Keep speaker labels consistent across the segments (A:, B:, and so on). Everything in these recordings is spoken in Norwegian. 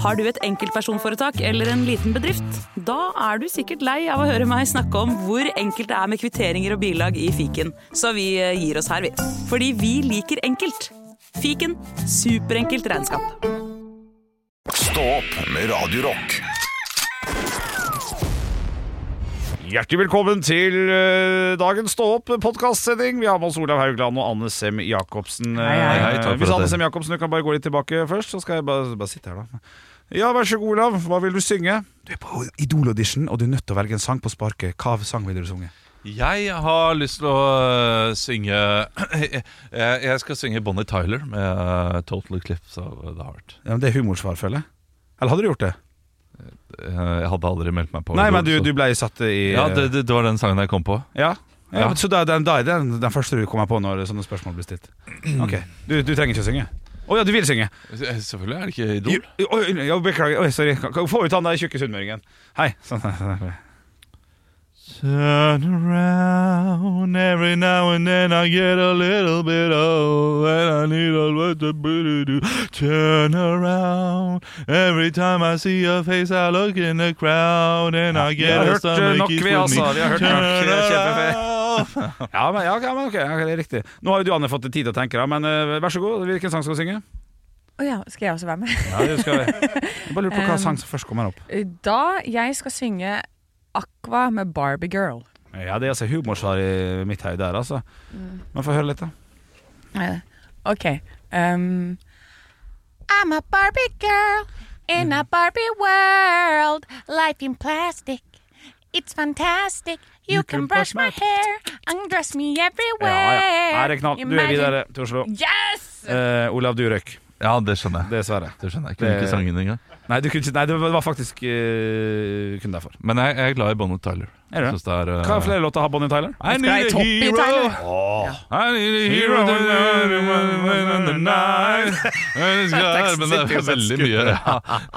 A: Har du et enkeltpersonforetak eller en liten bedrift? Da er du sikkert lei av å høre meg snakke om hvor enkelt det er med kvitteringer og bilag i fiken, så vi eh, gir oss her, vi. Fordi vi liker enkelt. Fiken superenkelt regnskap.
B: Stå opp med Radio Rock.
C: Hjertelig velkommen til eh, dagens Stå opp-podkastsending. Vi har med oss Olav Haugland og Anne Sem Jacobsen. Hei,
B: Hei, takk for
C: Hvis
B: at
C: Anne
B: det-
C: Sem Jacobsen du kan bare gå litt tilbake først, så skal jeg bare, bare sitte her, da. Ja, vær så god, Olav. Hva vil du synge? Du er på Idol-audition, og du er nødt til å velge en sang på sparket. Hva sang vil du synge?
D: Jeg har lyst til å øh, synge jeg, jeg skal synge Bonnie Tyler med øh, 'Total Eclipse of the Heart'.
C: Ja, men det er humorsvar, føler jeg. Eller hadde du gjort det?
D: Eh, Jeg hadde aldri meldt meg på.
C: Nei, men du,
D: så-
C: du ble satt i eh,
D: Ja, det, det, det var den sangen jeg kom på.
C: Ja, ja,
D: Ja.
C: men Så da, er den, da er den, den første du kommer på når sånne spørsmål blir stilt. Ok, Du, du trenger ikke å synge. Å ja, du vil synge?
D: Eh, Selvfølgelig er det ikke
C: Jo,
D: Idol.
C: oi, oi, beklager. Oi, sorry. Kan- kan- Få ut han der tjukke sunnmøringen. Hei. Sånn.
D: Turn around every now and then I get a little bit old and I need a little bit to turn around every time I see a face I look in the crowd and I
C: vi har
D: get a
C: hørt, eh, nok,
D: stomach
C: vi,
D: kiss with
C: altså. Vi har
D: me.
C: hørt nok.
D: Turn
C: Det er kjempefett.
D: around.
C: Ja, men, ja, ok, men ok, ok, det er riktig. Nå har jo du Anne fått tid til å tenke, da, men eh, vær så god. Hvilken sang skal du synge?
E: Å ja, skal jeg også være med?
C: Ja, det skal vi. Jeg bare lurer på hva
E: Um,
C: sang som først kommer opp.
E: Da jeg skal synge Aqua med Barbie Girl.
C: Ja, Det er altså humorsvar i mitt hode der, altså. Men få høre litt, da.
E: Eh, Ok. Um, I'm a Barbie girl in a Barbie world. Life in plastic. It's fantastic. You, can, brush my hair. Undress me
C: Ja,
E: everywhere.
C: ja. Her er det knall. Du er
E: Imagine-
C: videre til Oslo.
E: Yes!
C: Eh, Olav, du røyk.
D: Ja, det skjønner jeg.
C: Dessverre.
D: Det skjønner jeg. Jeg kunne
C: Det-
D: ikke sangen engang.
C: Nei, du kunne ikke, nei det var faktisk eh, kun derfor.
D: Men jeg, jeg er glad i Bonnie Tyler.
C: Er du det?
D: Synes det er, øh,
C: Hva er flere låter har Bonnie Tyler?
D: I need a
E: Toppy
D: hero.
E: Tyler.
D: I need a hero to in the night Men det er veldig mye ja.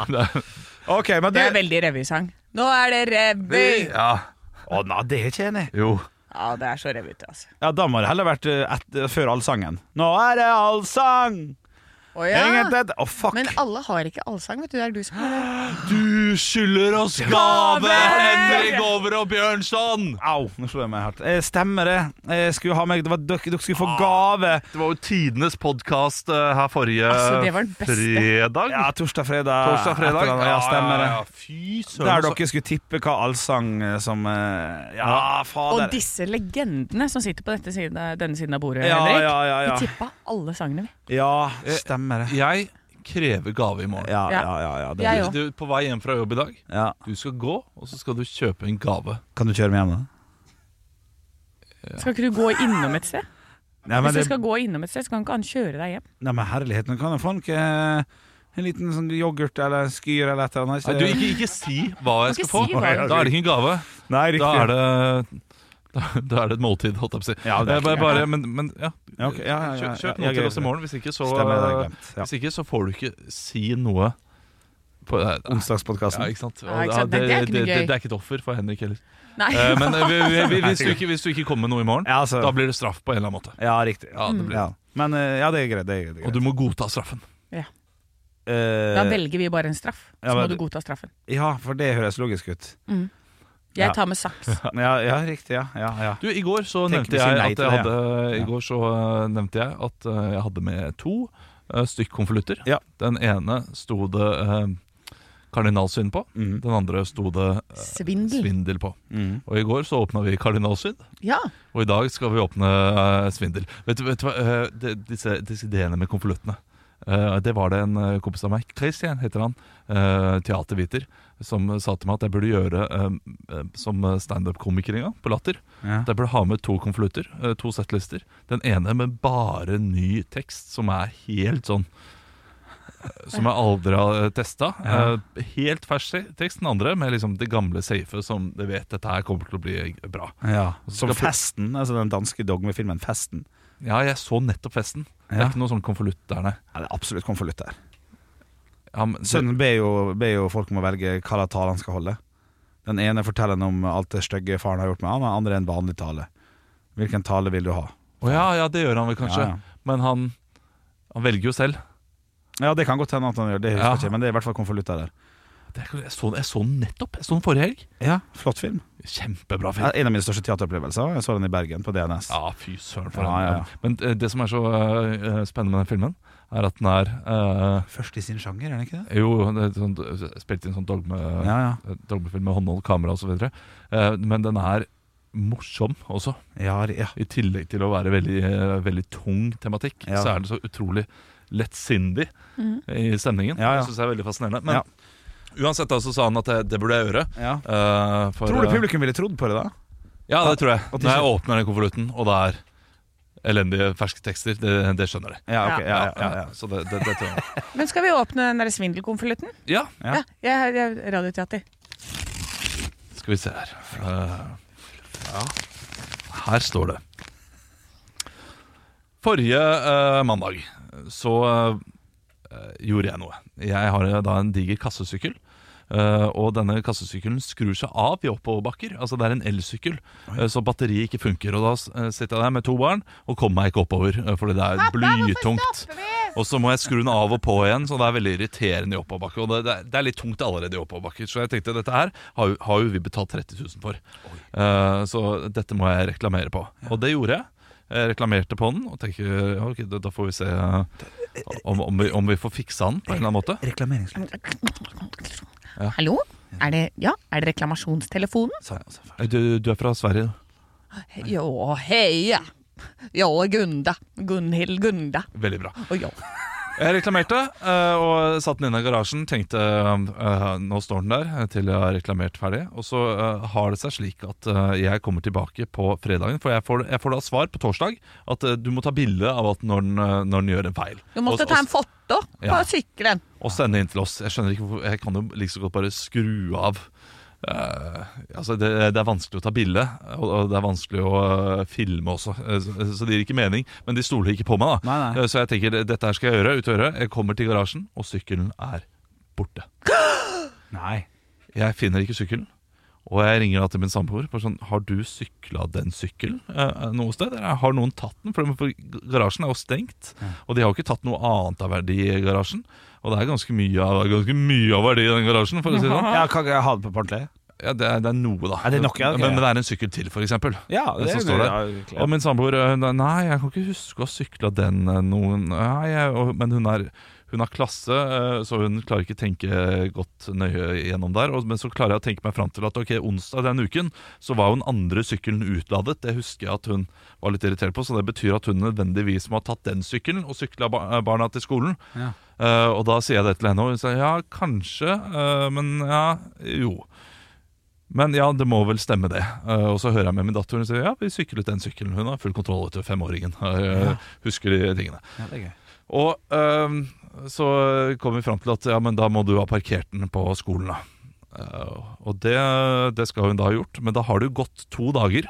D: Det er-
C: Ok, men
E: Det
C: det
E: er veldig revysang. Nå er det revy!
D: ja.
C: Å nei, det er ikke enig.
D: Jo
E: Ja, det er så revyete, altså.
C: Ja, Da må det heller vært eh, et, før allsangen. Nå er det allsang!
E: Å
C: Ingen tett- Å, fuck.
E: Men alle har ikke allsang, vet du. Det er du som har det.
D: Du skylder oss
E: Gave!
D: Henrik Over og Bjørnson
C: Au, nå slo jeg meg hardt. Eh, stemmer det. Eh, skulle ha meg, det var, dere, dere skulle få gave.
D: Det var jo tidenes podcast eh, her forrige
E: Altså, det var den beste.
D: fredag
C: Ja, torsdag, fredag.
D: Torsdag,
C: et
D: fredag
C: eller annet. Ja, stemmer det.
D: ja, ja. Fy søren
C: Der
D: altså.
C: dere skulle tippe hva allsang eh, som eh, Ja,
E: Og
C: fader.
E: disse legendene som sitter på dette siden, denne siden av bordet,
C: Ja,
E: Henrik.
C: ja, ja, ja.
E: De tippa alle sangene, vi.
C: Ja, stemmer det.
D: Jeg krever gave i morgen
C: Ja,
E: Ja.
C: ja, ja. ja, det,
E: Jeg
D: du,
E: òg.
D: du, er På vei hjem fra jobb i dag
C: ja.
D: Du skal gå, og så skal du kjøpe en gave
C: Kan du kjøre meg hjem, da?
E: Skal ikke du gå innom et sted?
C: Nei, men
E: Hvis
C: det-
E: du skal gå innom et sted, så kan ikke han kjøre deg hjem.
C: Nei, men herligheten kan jo folk eh, En liten sånn yoghurt eller skyr eller et eller annet
D: Nei, du, ikke, ikke si hva jeg
E: Ikke
D: skal få
E: si hva-
D: Da er det ikke en gave
C: Nei,
D: Da
C: riktig
D: er det da, da er det et måltid, holdt jeg på å si.
C: Ja, det er
D: Eh, bare,
C: ikke-
D: bare, men, men ja.
C: Ja, ok, ja, ja, ja,
D: Kjøp, kjøp
C: ja,
D: noe
C: ja,
D: til oss i morgen. Hvis ikke, så, eh,
C: Stemmer, det har jeg glemt ja.
D: hvis ikke, så får du ikke si noe. På, eh, ja,
C: Onsdagspodkasten
D: ikke sant?
E: Ja, ikke sant?
D: det,
E: Men det er ikke noe
D: det, det,
E: gøy.
D: det er ikke et offer for Henrik heller.
E: Nei.
D: Eh, men eh, vi, vi, vi, hvis, du ikke, hvis du ikke kommer med noe i morgen,
C: Ja, altså
D: da blir det straff på en eller annen måte.
C: Ja, riktig
D: Ja, det blir.
C: ja. Men eh, ja, det er greit, det er greit, det er
D: Og
C: greit.
D: du må godta straffen.
C: Eh,
E: Da velger vi bare en straff. Så
C: Ja, men-
E: må du godta straffen.
C: Ja, for det høres logisk ut Ja.
E: Jeg tar med saks.
C: Ja, ja riktig, ja, ja, ja.
D: Du, I går så
C: Tenk
D: nevnte
C: vi sier
D: jeg
C: nei
D: at
C: til
D: jeg
C: det,
D: hadde I går så eh, nevnte jeg at eh, jeg hadde med to eh, stykk konvolutter.
C: Ja.
D: Den ene sto det eh, kardinalsyn på.
C: Mhm.
D: Den andre sto det eh,
E: Svindel.
D: svindel på.
C: Mhm.
D: Og i går så åpna vi kardinalsyn,
E: Ja.
D: og i dag skal vi åpne eh, svindel. Vet du, vet du hva, eh, de, disse, disse ideene med konvoluttene. eh, det var det en eh, kompis av meg, Christian heter han, eh, teaterviter, som eh, sa til meg at jeg burde gjøre eh, eh, som standup-komiker en gang, på Latter.
C: Ja.
D: Der burde du ha med to konvolutter, eh, to settlister. Den ene med bare ny tekst, som er helt sånn eh, Som jeg aldri har testa.
C: Ja.
D: Helt fersk te- tekst. Den andre med liksom det gamle safe, som du vet dette her kommer til å bli bra.
C: ja. Som
D: Skal-
C: Festen, altså den danske dogmefilmen Festen
D: Ja, jeg så nettopp festen. Det
C: Ja.
D: er ikke noe sånn konvolutt der, nei.
C: ja, det er absolutt konvolutt der
D: Ja, men, det,
C: Sønnen ber jo, ber jo folk om å velge hva slags tale han skal holde. Den ene forteller han om alt det stygge faren har gjort med han, den andre en vanlig tale. Hvilken tale vil du ha?
D: å ja, ja, det gjør han vel kanskje.
C: Ja, ja.
D: Men han, han velger jo selv.
C: Ja, det kan godt hende at han gjør det, jeg husker
D: Ja.
C: ikke, men det er i hvert fall konvolutter der.
D: Det, er- jeg, så, den- jeg så den nettopp. Jeg så den forrige helg.
C: Ja, Flott film.
D: Kjempebra
C: Ja,
D: film.
C: En av mine største teateropplevelser. Jeg så den i Bergen, på DNS.
D: Ja, fy søren for
C: Ja,
D: en
C: ja, ja.
D: Men eh, det som er så eh, spennende med den filmen, er at den er eh,
C: Først i sin sjanger, er den ikke det?
D: Jo, det er sånn, spilt inn sånn dogme, eh,
C: Ja, ja.
D: dogmefilm med håndhold, kamera osv. Uh, men den er morsom også.
C: Ja, ja.
D: I tillegg til å være veldig, eh, veldig tung tematikk,
C: Ja.
D: så er det så utrolig lettsindig i stemningen.
C: Ja, ja.
D: Det syns jeg er veldig fascinerende. Men
C: Ja.
D: uansett da, så sa han at det, det burde jeg gjøre.
C: ja.
D: eh, for,
C: Tror du
D: eh,
C: publikum ville trodd på det, da?
D: Ja, det tror jeg.
C: At de
D: Når jeg
C: skjønner-
D: åpner den konvolutten, og det er elendige ferske tekster, det, det skjønner de.
C: Ja, ok, ja, ja, ja, ja.
D: Så det, det, det tror jeg.
E: Men skal vi åpne den der svindelkonvolutten?
D: Ja,
C: Ja.
E: Ja. jeg, jeg, radioteater.
D: Skal vi se her. Eh, Her står det. Forrige eh, mandag så eh, gjorde jeg noe. Jeg har eh, da en diger kassesykkel. eh, og denne kassesykkelen skrur seg av i oppoverbakker. Altså Det er en elsykkel, eh, så batteriet ikke funker. Og Da eh, sitter jeg der med to barn og kommer meg ikke oppover, eh, fordi det er blytungt. Og så må jeg skru den av og på igjen, så det er veldig irriterende i oppoverbakke. Og det, det, er- det er litt tungt allerede i oppoverbakker, så jeg tenkte dette her har, jo- har jo vi betalt 30 000 for. Eh, så dette må jeg reklamere på. Og det gjorde jeg. Jeg reklamerte på den og tenkte ja, ok, da- da får vi se eh, om, om, vi, om vi får fiksa den på en eller annen måte.
C: Reklameringslyd.
E: Hallo? Er det, ja, er det reklamasjonstelefonen?
C: Sa jeg også.
D: Du, du er fra Sverige?
E: Jo, heia. Jo, Gunda. Gunhild Gunda.
D: Veldig bra.
E: Og jo.
D: Jeg reklamerte eh, og satte den inn i garasjen. Tenkte eh, nå står den der til jeg har reklamert ferdig. Og så eh, har det seg slik at eh, jeg kommer tilbake på fredagen. For jeg får, jeg får da svar på torsdag at eh, du må ta bilde av at når den, eh, når den gjør en feil.
E: Du måtte
D: Og-
E: ta en
D: og-
E: foto på
D: Ja.
E: sykkelen.
D: og sende inn til oss. Jeg skjønner ikke hvorfor Jeg kan jo like så godt bare skru av. Eh, altså det, det er vanskelig å ta bilde, og, og det er vanskelig å eh, filme også. Eh, så, så det gir ikke mening, men de stoler ikke på meg. da
C: Nei, nei.
D: Eh, Så jeg tenker dette her skal jeg gjøre. ut og gjøre Jeg kommer til garasjen, og sykkelen er borte.
C: Nei.
D: Jeg finner ikke sykkelen. Og jeg ringer da til min samboer. bare Sånn, har du sykla den sykkelen eh, noe sted? Eller har noen tatt den? For for garasjen er jo stengt. Og de har jo ikke tatt noe annet av verdi i garasjen. Og det er ganske mye av, ganske mye av verdi i den garasjen. for å si det sånn.
C: Ja, kan jeg ha det på pamphlet?
D: Ja, det, er, det er noe, da.
C: Er det nok, ja, ok,
D: men, men
C: ja.
D: det er en sykkel til, for eksempel.
C: Ja,
D: det
C: det
D: som
C: er
D: står der.
C: ja,
D: Og min samboer eh, Nei, jeg kan ikke huske å ha sykla den eh, noen Nei, jeg, og, Men hun er, hun har klasse, eh, så hun klarer ikke tenke godt nøye gjennom der. Og, men så klarer jeg å tenke meg fram til at ok, onsdag den uken så var jo den andre sykkelen utladet. Det husker jeg at hun var litt irritert på, så det betyr at hun nødvendigvis må ha tatt den sykkelen og sykla ba eh, barna til skolen.
C: Ja.
D: Eh, og da sier jeg det til henne, og hun sier ja, kanskje, eh, men ja, jo. Men ja, det må vel stemme det. Eh, og så hører jeg med min datter, og hun sier ja, vi syklet den sykkelen. Hun har full kontroll etter femåringen. eh, Husker de tingene.
C: Ja, det er gøy.
D: Og øhm, så kom vi fram til at ja, men da må du ha parkert den på skolen, da. Eh, og det, det skal hun da ha gjort, men da har det jo gått to dager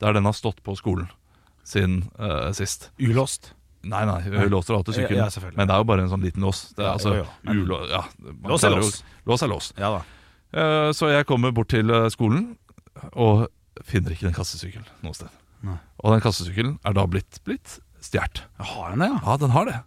D: der den har stått på skolen siden eh, sist.
C: Ulåst.
D: Nei, nei, hun låser alltid sykkelen,
C: Ja, ja, selvfølgelig.
D: men det er jo bare en sånn liten lås. Det er
C: Ja,
D: altså
C: jo, jo, men-
D: ulå... Ja, man
C: Lås er
D: klarer jo-
C: lås.
D: Lås er lås.
C: Ja da.
D: Eh, Så jeg kommer bort til eh, skolen og finner ikke den kassesykkelen noe sted.
C: Nei.
D: Og den kassesykkelen er da blitt, blitt stjålet.
C: Har han det,
D: Ja, den har det.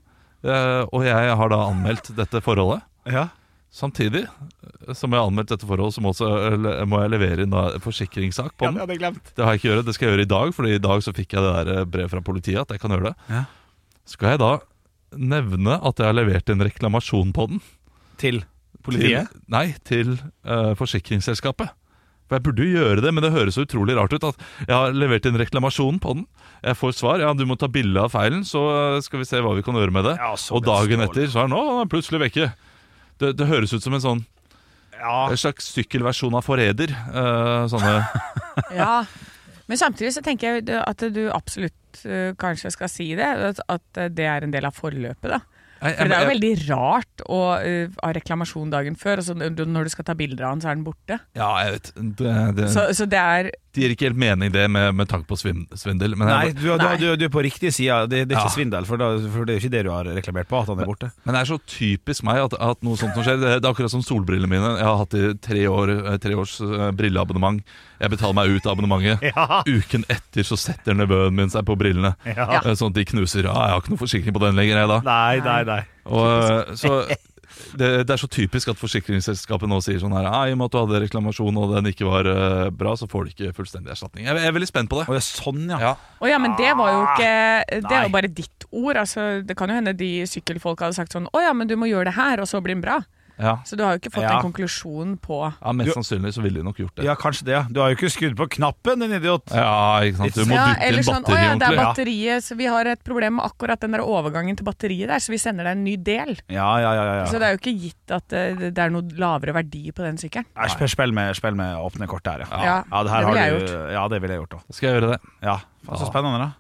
D: Eh, Og jeg har da anmeldt dette forholdet.
C: ja?
D: Samtidig eh, som jeg har anmeldt dette forholdet, så må, også, eller, må jeg levere inn da forsikringssak på den.
C: hadde jeg glemt.
D: Det har jeg ikke gjort, det skal jeg gjøre i dag, Fordi i dag så fikk jeg det der eh, brev fra politiet at jeg kan gjøre det.
C: Ja.
D: Skal jeg da nevne at jeg har levert en reklamasjon på den?
C: Til politiet?
D: Til, nei, til eh, forsikringsselskapet. For Jeg burde jo gjøre det, men det høres så utrolig rart ut. at Jeg har levert inn reklamasjon på den. Jeg får svar. Ja, du må ta bilde av feilen, så eh, skal vi se hva vi kan gjøre med det.
C: Ja, så
D: Og dagen
C: beståelig.
D: etter så er den, å, den er plutselig vekke. Det, det høres ut som en sånn
C: Ja.
D: en slags sykkelversjon av Forræder. eh, sånne
E: Ja. Men samtidig så tenker jeg at du absolutt eh, kanskje skal si det. At, at det er en del av forløpet, da.
D: Nei, jeg-
E: For det er jo
D: jeg-
E: veldig rart å eh, ha reklamasjon dagen før, og så n- når du skal ta bilder av den, så er den borte.
D: Ja, jeg vet. Det, det,
E: Så, så det er
D: det gir ikke helt mening, det, med, med tanke på svin- svindel. Men
C: Nei,
D: jeg,
C: du, du, du, du er på riktig side. Det, det er
D: Ja.
C: ikke svindel, for, da, for det er jo ikke det du har reklamert på. At han er borte.
D: Men det er så typisk meg at, at noe sånt som skjer. Det det er akkurat som solbrillene mine. Jeg har hatt i tre, år, eh, tre års eh, brilleabonnement. Jeg betaler meg ut av abonnementet. Uken etter så setter nevøen min seg på brillene,
E: Ja.
D: eh, sånn at de knuser. Ja, jeg har ikke noe forsikring på den lenger, jeg da.
C: Nei, nei, nei.
D: Og, eh, så det, det er så typisk at forsikringsselskapet nå sier sånn her «Ah, I og med at du hadde reklamasjon og den ikke var eh, bra, så får du ikke fullstendig erstatning. Jeg, jeg er veldig spent på
C: Og
D: det.
C: det er sånn, ja.
D: Ja.
E: Å ja, men det var jo ikke eh, Det er
C: Ah, Nei.
E: jo bare ditt ord. Altså, det kan jo hende de sykkelfolk hadde sagt sånn Å ja, men du må gjøre det her, og så blir den bra.
D: Ja,
E: Så du har jo ikke fått
C: Ja.
E: en konklusjon på
D: ja
C: Du-
D: Mest sannsynlig så ville de nok gjort det.
C: Ja, kanskje det. ja. Du har jo ikke skrudd på knappen, din idiot.
D: Ja, ikke sant. Du må
E: ja,
D: bytte
E: eller
D: inn
E: sånn, «Å
D: batteri
E: ja, det er
D: ordentlig. Ja.
E: batteriet, så vi har et problem med akkurat den der overgangen til batteriet der, så vi sender deg en ny del.
C: Ja, ja, ja. ja,
E: Så
C: ja.
E: det er jo ikke gitt at eh, det er noe lavere verdi på den sykkelen.
C: Nei, sp- Spill med, spill med åpne kort der, ja.
E: Ja,
C: Ja, det, her
E: ville
C: har
E: jeg
C: du,
E: gjort.
C: ja, det ville jeg gjort òg.
D: Skal jeg gjøre det?
C: Ja. Faen, så
D: Ja.
C: spennende, da.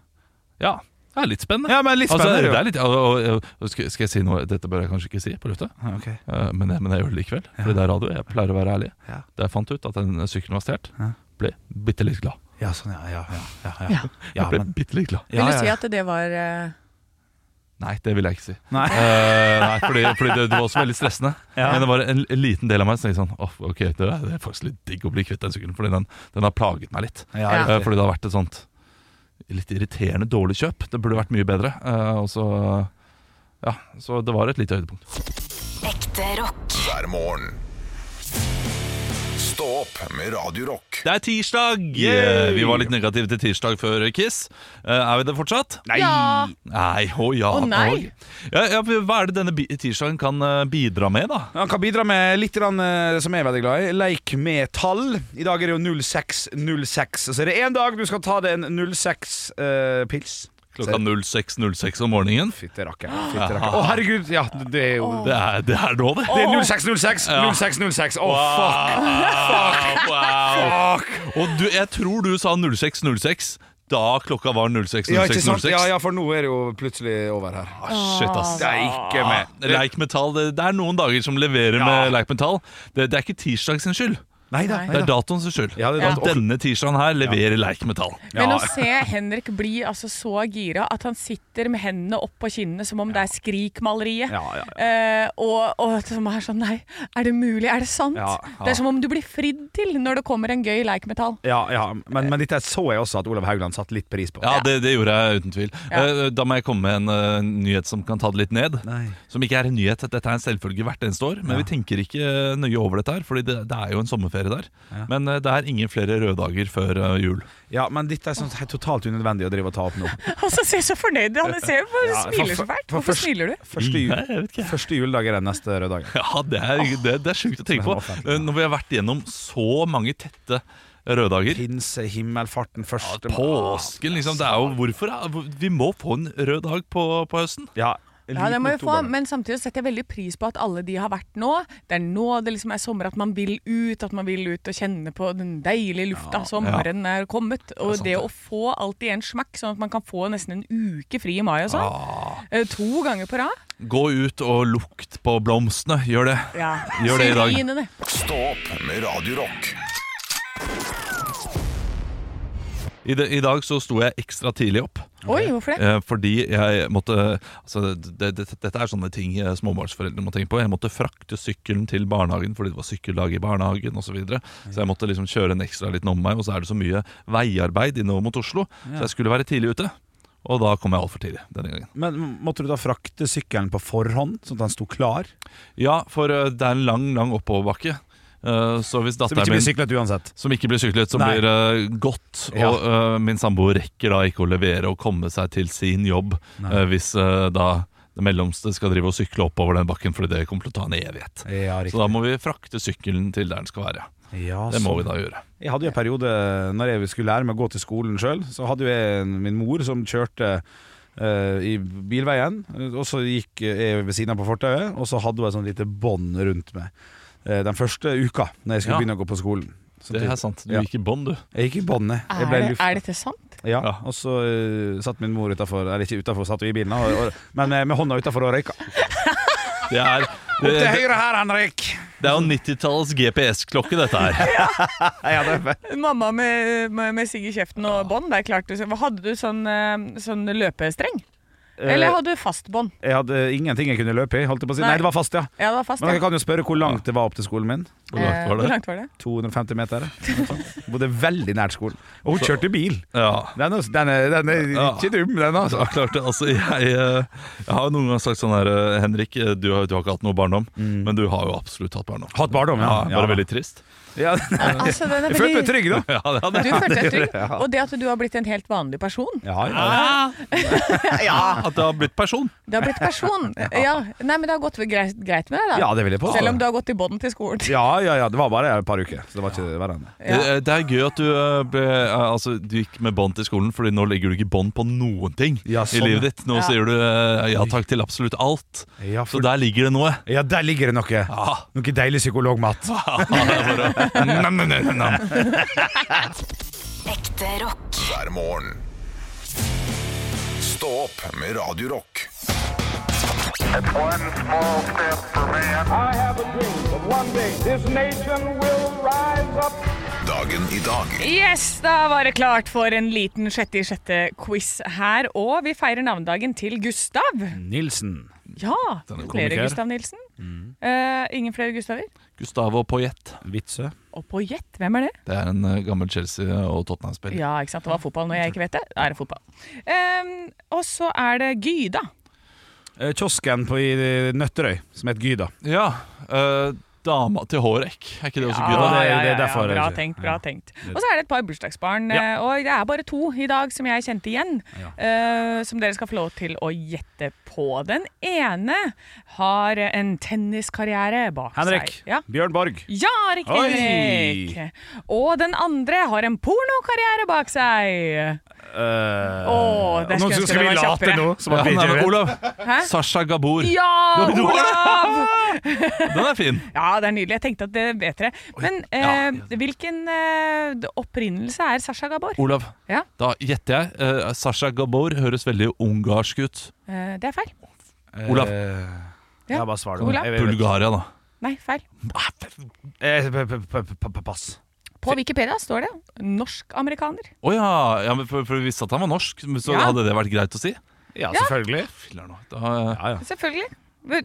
D: Ja. Det er litt spennende.
C: Ja, men litt
D: Altså,
C: spennende.
D: det er litt, og, og, og, skal, skal jeg si noe Dette bør jeg kanskje ikke si på lufta,
C: Ja, ok.
D: eh, men, jeg- men jeg gjør det likevel. Fordi det er radio. Jeg pleier å være ærlig.
C: Ja.
D: Da jeg fant ut at den sykkelen var stjålet,
C: Ja.
D: ble bitte litt glad.
C: ja, sånn, ja. Ja, ja, ja, ja.
E: Ja.
C: ja
D: Jeg ble
C: men
D: bitte litt glad.
C: ja, ja,
E: Vil du si
C: ja.
E: at det var eh,
D: Nei, det vil jeg ikke si.
C: Nei.
D: Eh, nei, fordi, fordi det, det var også veldig stressende.
C: Ja.
D: Men det var en, en liten del av meg som tenkte sånn Åh, Ok, det er, det er faktisk litt digg å bli kvitt den sykkelen, fordi den, den har plaget meg litt.
C: Ja,
E: Ja.
D: Eh,
C: riktig.
D: fordi det har vært et sånt litt irriterende dårlig kjøp. Det burde vært mye bedre. Eh, og så Ja, så det var et lite høydepunkt.
F: Ekte rock.
B: hver morgen. Stå opp med Radio Rock.
D: Det er tirsdag! Eh, vi var litt negative til tirsdag før Kiss. Eh, er vi det fortsatt?
C: Nei!
E: Ja.
D: Nei, å ja.
E: Å, nei.
D: å. Ja, ja, hva er det denne bi- tirsdagen kan eh, bidra med, da?
C: Han kan bidra med litt grann, eh, som jeg er veldig glad i. Leik med tall. I dag er det jo 0606. Så er det én dag du skal ta deg en eh, 06-pils.
D: Klokka 06.06 om morgenen.
C: Fytte rakker. Fytte rakker. Å, herregud! Ja, det er jo
D: Det er, det er nå, det.
C: Det er 0606! 0606! Å, fuck!
D: Wow.
C: fuck.
D: Og du, jeg tror du sa 0606 da klokka var 0606.
C: Ja, ikke sant? Ja, Ah. ja, for nå er det jo plutselig over her.
D: Shit, ass.
C: Det er ikke med.
D: Leik metall, det, det er noen dager som leverer med leik metall. Det, det er ikke tirsdag sin skyld,
C: Nei da.
D: det er datoen sin skyld.
C: Ja, det er
D: At
C: dato-
D: denne tirsdagen her leverer leik metall.
E: Men
C: Ja.
E: å se Henrik bli altså så gira at han sitter med hendene opp på kinnene som om det er Skrik-maleriet.
C: Ja, ja,
E: Eh, og, og som er sånn Nei, er det mulig? Er det sant?
C: Ja,
E: Det er som om du blir fridd til når det kommer en gøy leikmetall.
C: Ja, ja. Men, men dette så jeg også at Olav Haugland satte litt pris på.
D: Ja, det, det gjorde jeg uten tvil.
E: Ja.
D: Eh, Da må jeg komme med en eh, nyhet som kan ta det litt ned.
C: Nei.
D: Som ikke er en nyhet, dette er en selvfølge hvert eneste år. Men vi tenker ikke eh, nøye over dette her, Fordi det, det er jo en sommerferie der. Men eh, det er ingen flere røde dager før eh, jul.
C: Ja, men dette er sånn helt totalt unødvendig å drive og ta opp nå.
E: Og så ser så fornøyd han ser ut,
C: Ja, for-
E: smiler så fælt.
C: for
E: Hvorfor
C: først-
E: smiler du?
C: Første,
D: Nei, jeg
C: jul,
D: vet ikke.
C: første juledag er den neste røde dagen.
D: Ja, det er, det, det er sjukt å tenke på. Eh, Når vi har vært gjennom så mange tette røddager.
C: Pinse, himmelfarten, første
D: Påsken, liksom. Det er jo hvorfor er- hvor- Vi må få en rød dag på, på høsten.
C: Ja,
E: Ja, det
C: liten
E: må vi få,
C: oktober.
E: men samtidig setter jeg veldig pris på at alle de har vært nå. Det er nå det liksom er sommer, at man vil ut, at man vil ut og kjenne på den deilige lufta. Sommeren er kommet. Og det, å få alt i en smakk, sånn at man kan få nesten en uke fri i mai og sånn.
C: Ah.
E: Eh, To ganger på rad.
D: Gå ut og lukt på blomstene. Gjør det. Gjør det i dag.
E: Syrinene.
B: Stå opp med Radio Rock.
D: I, de, I dag så sto jeg ekstra tidlig opp.
E: Oi, hvorfor det?
D: Eh, fordi jeg måtte altså, det, det, Dette er sånne ting eh, småbarnsforeldre må tenke på. Jeg måtte frakte sykkelen til barnehagen fordi det var sykkeldag i barnehagen osv. Så, videre. så jeg måtte liksom kjøre en ekstra liten omvei, og så er det så mye veiarbeid innover mot Oslo. Så jeg skulle være tidlig ute. Og da kom jeg altfor tidlig denne gangen.
C: Men måtte du da frakte sykkelen på forhånd, sånn at den sto klar?
D: Ja, for eh, det er en lang, lang oppoverbakke. Eh, så hvis
C: Som
D: datteren
C: ikke blir
D: min
C: syklet uansett.
D: Som ikke blir syklet, som
C: Nei.
D: blir eh, godt.
C: Ja.
D: Og eh, min samboer rekker da ikke å levere og komme seg til sin jobb eh, hvis eh, da det mellomste skal drive og sykle oppover den bakken, fordi det kommer til å ta en evighet.
C: Ja,
D: Så da må vi frakte sykkelen til der den skal være.
C: Ja,
D: Det må
C: sånn.
D: vi da gjøre.
C: Jeg hadde jo en periode når jeg skulle lære meg å gå til skolen sjøl, så hadde jo jeg en- min mor som kjørte eh, i bilveien, og så gikk jeg ved siden av på fortauet, og så hadde hun et sånt lite bånd rundt meg eh, den første uka når jeg skulle
D: Ja.
C: begynne å gå på skolen. Så
D: Det
C: typ-
D: er sant. Du
C: Ja.
D: gikk i bånd, du.
C: Jeg gikk i båndet. Jeg
E: Er,
C: ble
E: det-
C: lufta.
E: er dette sant?
C: Ja,
D: Ja.
C: og så eh, satt min mor utafor, eller ikke utafor, satt hun i bilen, og, og, men eh, med hånda utafor og røyka.
D: Det er, det,
C: Til
D: det,
C: høyre her, Henrik!
D: det er jo 90-tallets GPS-klokke, dette her.
C: Ja, det er
E: Mamma med, med, med sigg i kjeften og bånd, det er klart. du- Hadde du sånn, eh, sånn løpestreng?
C: eh,
E: Eller hadde du fastbånd?
C: jeg hadde ingenting jeg kunne løpe i. Holdt jeg på å si.
E: Nei.
C: Nei, det var fast, ja.
E: Ja, det var fast.
C: Men
E: ja.
C: dere kan jo spørre hvor langt det var opp til skolen min.
D: Hvor langt
E: Eh,
D: var
E: Hvor
D: det?
E: langt var det?
C: 250 meter. eller noe sånt. Bodde veldig nært skolen. Og hun kjørte bil!
D: Ja.
C: Den er, den er, den er
D: Ja.
C: ikke dum, den,
D: Så
C: altså.
D: jeg klarte, altså, jeg, eh, jeg har jo noen ganger sagt sånn her eh, Henrik, eh, du har, du har ikke hatt noe barndom, men du har jo absolutt hatt barndom.
C: Mm. Hatt barndom, ja.
D: Bare
C: Ja.
D: veldig trist.
C: Ja,
E: Altså, den er
C: jeg følte meg
E: veldig...
C: trygg, da.
D: Ja, det hadde
E: Du
D: jeg.
E: følte deg trygg. Og det at du har blitt en helt vanlig person.
C: Ja, ja.
E: Ah.
D: Ah, At det har blitt person.
E: Det har blitt person. Ja, Nei, men det har gått greit, greit med deg, da.
C: ja, det vil jeg
E: Selv
C: påstå.
E: om du har gått i bånd til skolen.
C: Ja, ja, ja. Det var bare et par uker. Så det var ikke verre enn det.
D: Eh, Det er gøy at du, eh, ble, eh, altså, du gikk med bånd til skolen, Fordi nå legger du ikke bånd på noen ting
C: Ja, sånn,
D: i livet ditt. Nå
E: ja.
D: sier du eh, ja takk til absolutt alt.
C: Ja,
D: Så
C: for,
D: der ligger det noe. Ah,
C: ja der ligger det noe.
D: Ja.
C: Noe deilig psykologmat.
D: Nam, nam, nam, nam.
F: Ekte rock.
B: hver morgen. Stå opp med Radio Rock.
G: One small step for man. I have a dream that one day this nation will rise up.
B: Dagen i dag
E: Yes, da var det klart for en liten sjette i sjette-quiz her. Og vi feirer navnedagen til Gustav.
C: Nilsen.
E: Ja,
D: Den er
E: flere
D: komiker.
E: Gustav Nilsen.
C: Mm.
E: Eh, ingen flere Gustaver.
D: Gustavo Poyet.
C: Vitsø.
E: Og på gjett, hvem er det?
D: Det er en eh, gammel Chelsea- og Tottenham-spiller.
E: Ja, ikke sant, det var fotball når jeg ikke vet det. Da er det fotball. Eh, og så er det Gyda.
C: Eh, Kiosken på i Nøtterøy, som het Gyda.
D: Ja. eh, dama til Hårek. Er ikke det også
E: Ah,
D: gøy?
C: det
D: da?
C: er- det er derfor-
E: bra tenkt. bra
C: Ja.
E: tenkt Og så er det et par bursdagsbarn, eh, og det er bare to i dag som jeg kjente igjen. eh, som dere skal få lov til å gjette på. Den ene har en tenniskarriere bak
C: Henrik.
E: seg. Ja.
C: Bjørn Borg.
E: ja, riktig!
C: Oi!
E: Henrik. Og den andre har en pornokarriere bak seg.
C: Eh,
E: Åh, der skulle
C: Nå
E: jeg ønske
C: skal vi
E: det var
C: late
E: kjappere.
C: nå som at
D: Ja,
C: vi
D: nei,
C: ikke
D: men
C: vet.
D: Olav. Sasha Gabor.
E: Ja,
D: Du har
E: Olav!
D: Den er fin.
E: Ja, det er nydelig. Jeg tenkte at det vet dere. Men
D: ja.
E: eh, hvilken eh, opprinnelse er Sasha Gabor?
D: Olav,
E: Ja.
D: da gjetter jeg. eh, Sasha Gabor høres veldig ungarsk ut.
E: Eh, det er feil.
D: Olav.
C: Eh,
E: Ja.
C: Ja, bare svar du.
E: Olav.
C: Jeg- jeg-
D: Bulgaria, da.
E: Nei, feil.
C: Eh, p- p- p- p- p- Pass.
E: På Wikipedia står det norsk-amerikaner.
D: Å ja. ja men for, for vi visste at han var norsk, så
E: Ja.
D: hadde det vært greit å si?
C: Ja, selvfølgelig.
D: Filler nå. Da, eh,
C: Ja, ja.
E: Selvfølgelig.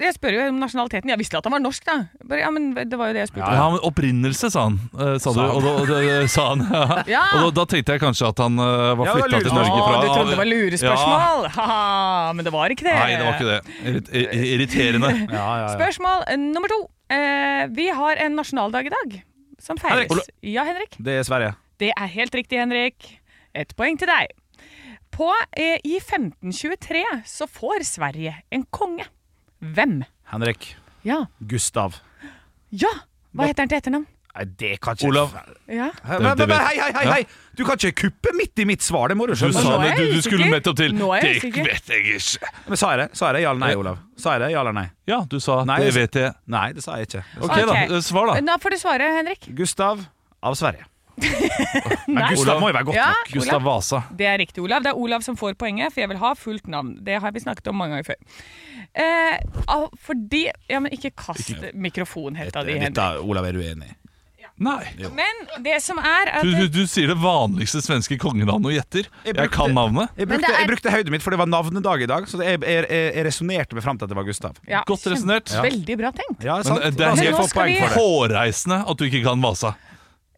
E: Jeg spør jo om nasjonaliteten. Jeg visste at han var norsk, da. Bare, ja, men det var jo det jeg spurte
D: ja,
E: om.
D: men opprinnelse, sa han. eh, sa du,
C: Sa han.
D: og da, og det, sa han.
E: Ja.
D: Og da, da tenkte jeg kanskje at han eh, var
C: Ja, det var
D: flytta til
C: lurespørsmål.
D: Norge fra
E: Å, du trodde det var
D: Ja.
E: lurespørsmål? Haha, men det var ikke det.
D: Nei, det var ikke det. Irrit- i- Irriterende.
C: Ja, ja, ja.
E: Spørsmål nummer to. Eh, vi har en nasjonaldag i dag som feires.
D: Henrik.
E: Ja, Henrik.
C: Det er Sverige.
E: Det er helt riktig, Henrik. Et poeng til deg. På, eh, I 1523 så får Sverige en konge. Hvem?
C: Henrik.
E: Ja.
C: Gustav.
E: ja. Hva heter han til etternavn?
C: Nei, det kan ikke
D: Olav.
E: Ja.
C: Hei, hei,
D: det vet-
C: hei, hei, hei, hei! Du kan ikke kuppe midt i mitt svar, det må du
D: Du
C: skjønne.
D: sa
E: Nå er
D: det,
E: jeg
D: du, du skulle
E: usikker.
D: nettopp til.
E: Nå er jeg
D: Det
E: usikker.
D: vet jeg ikke.
C: Men sa jeg det? Sa jeg det? Ja eller nei, Olav? Sa jeg det? Ja eller nei?
D: Ja, du sa
C: Nei,
D: det
C: jeg-
D: vet jeg.
C: Nei, det sa jeg ikke. Det sa-
D: Ok,
E: Ok.
D: da. eh, Svar, da.
E: Da får du svare, Henrik.
C: Gustav av Sverige.
E: Nei.
C: Men Gustav
D: Olav.
C: må jo være godt
E: Ja,
C: nok.
D: Gustav Vasa.
E: Det er riktig, Olav. Det er Olav som får poenget, for jeg vil ha fullt navn. Det har vi snakket om mange ganger før. Eh, ah, fordi Ja, men ikke kast mikrofonhetta di, Henrik.
C: Dette, Olav, er du enig i?
D: Nei.
E: Men det som er at
D: Du, du, du sier det vanligste svenske kongenavnet og gjetter.
C: Jeg
D: Jeg kan
C: brukte-
D: navnet.
C: Jeg
E: Men
C: brukte,
E: det er-
C: jeg brukte høyden mitt, for det var navnedag i dag. Så jeg, jeg, jeg, jeg resonnerte meg fram til at det var Gustav.
E: ja,
D: Godt
E: kjempe-
D: resonert. Ja.
E: Veldig bra tenkt.
C: Ja, sant?
D: Men, eh, det er
C: Da skal jeg
E: helt-
C: få
E: Nå skal
C: poeng
E: vi-
C: for det.
D: Hårreisende at du ikke kan Vasa.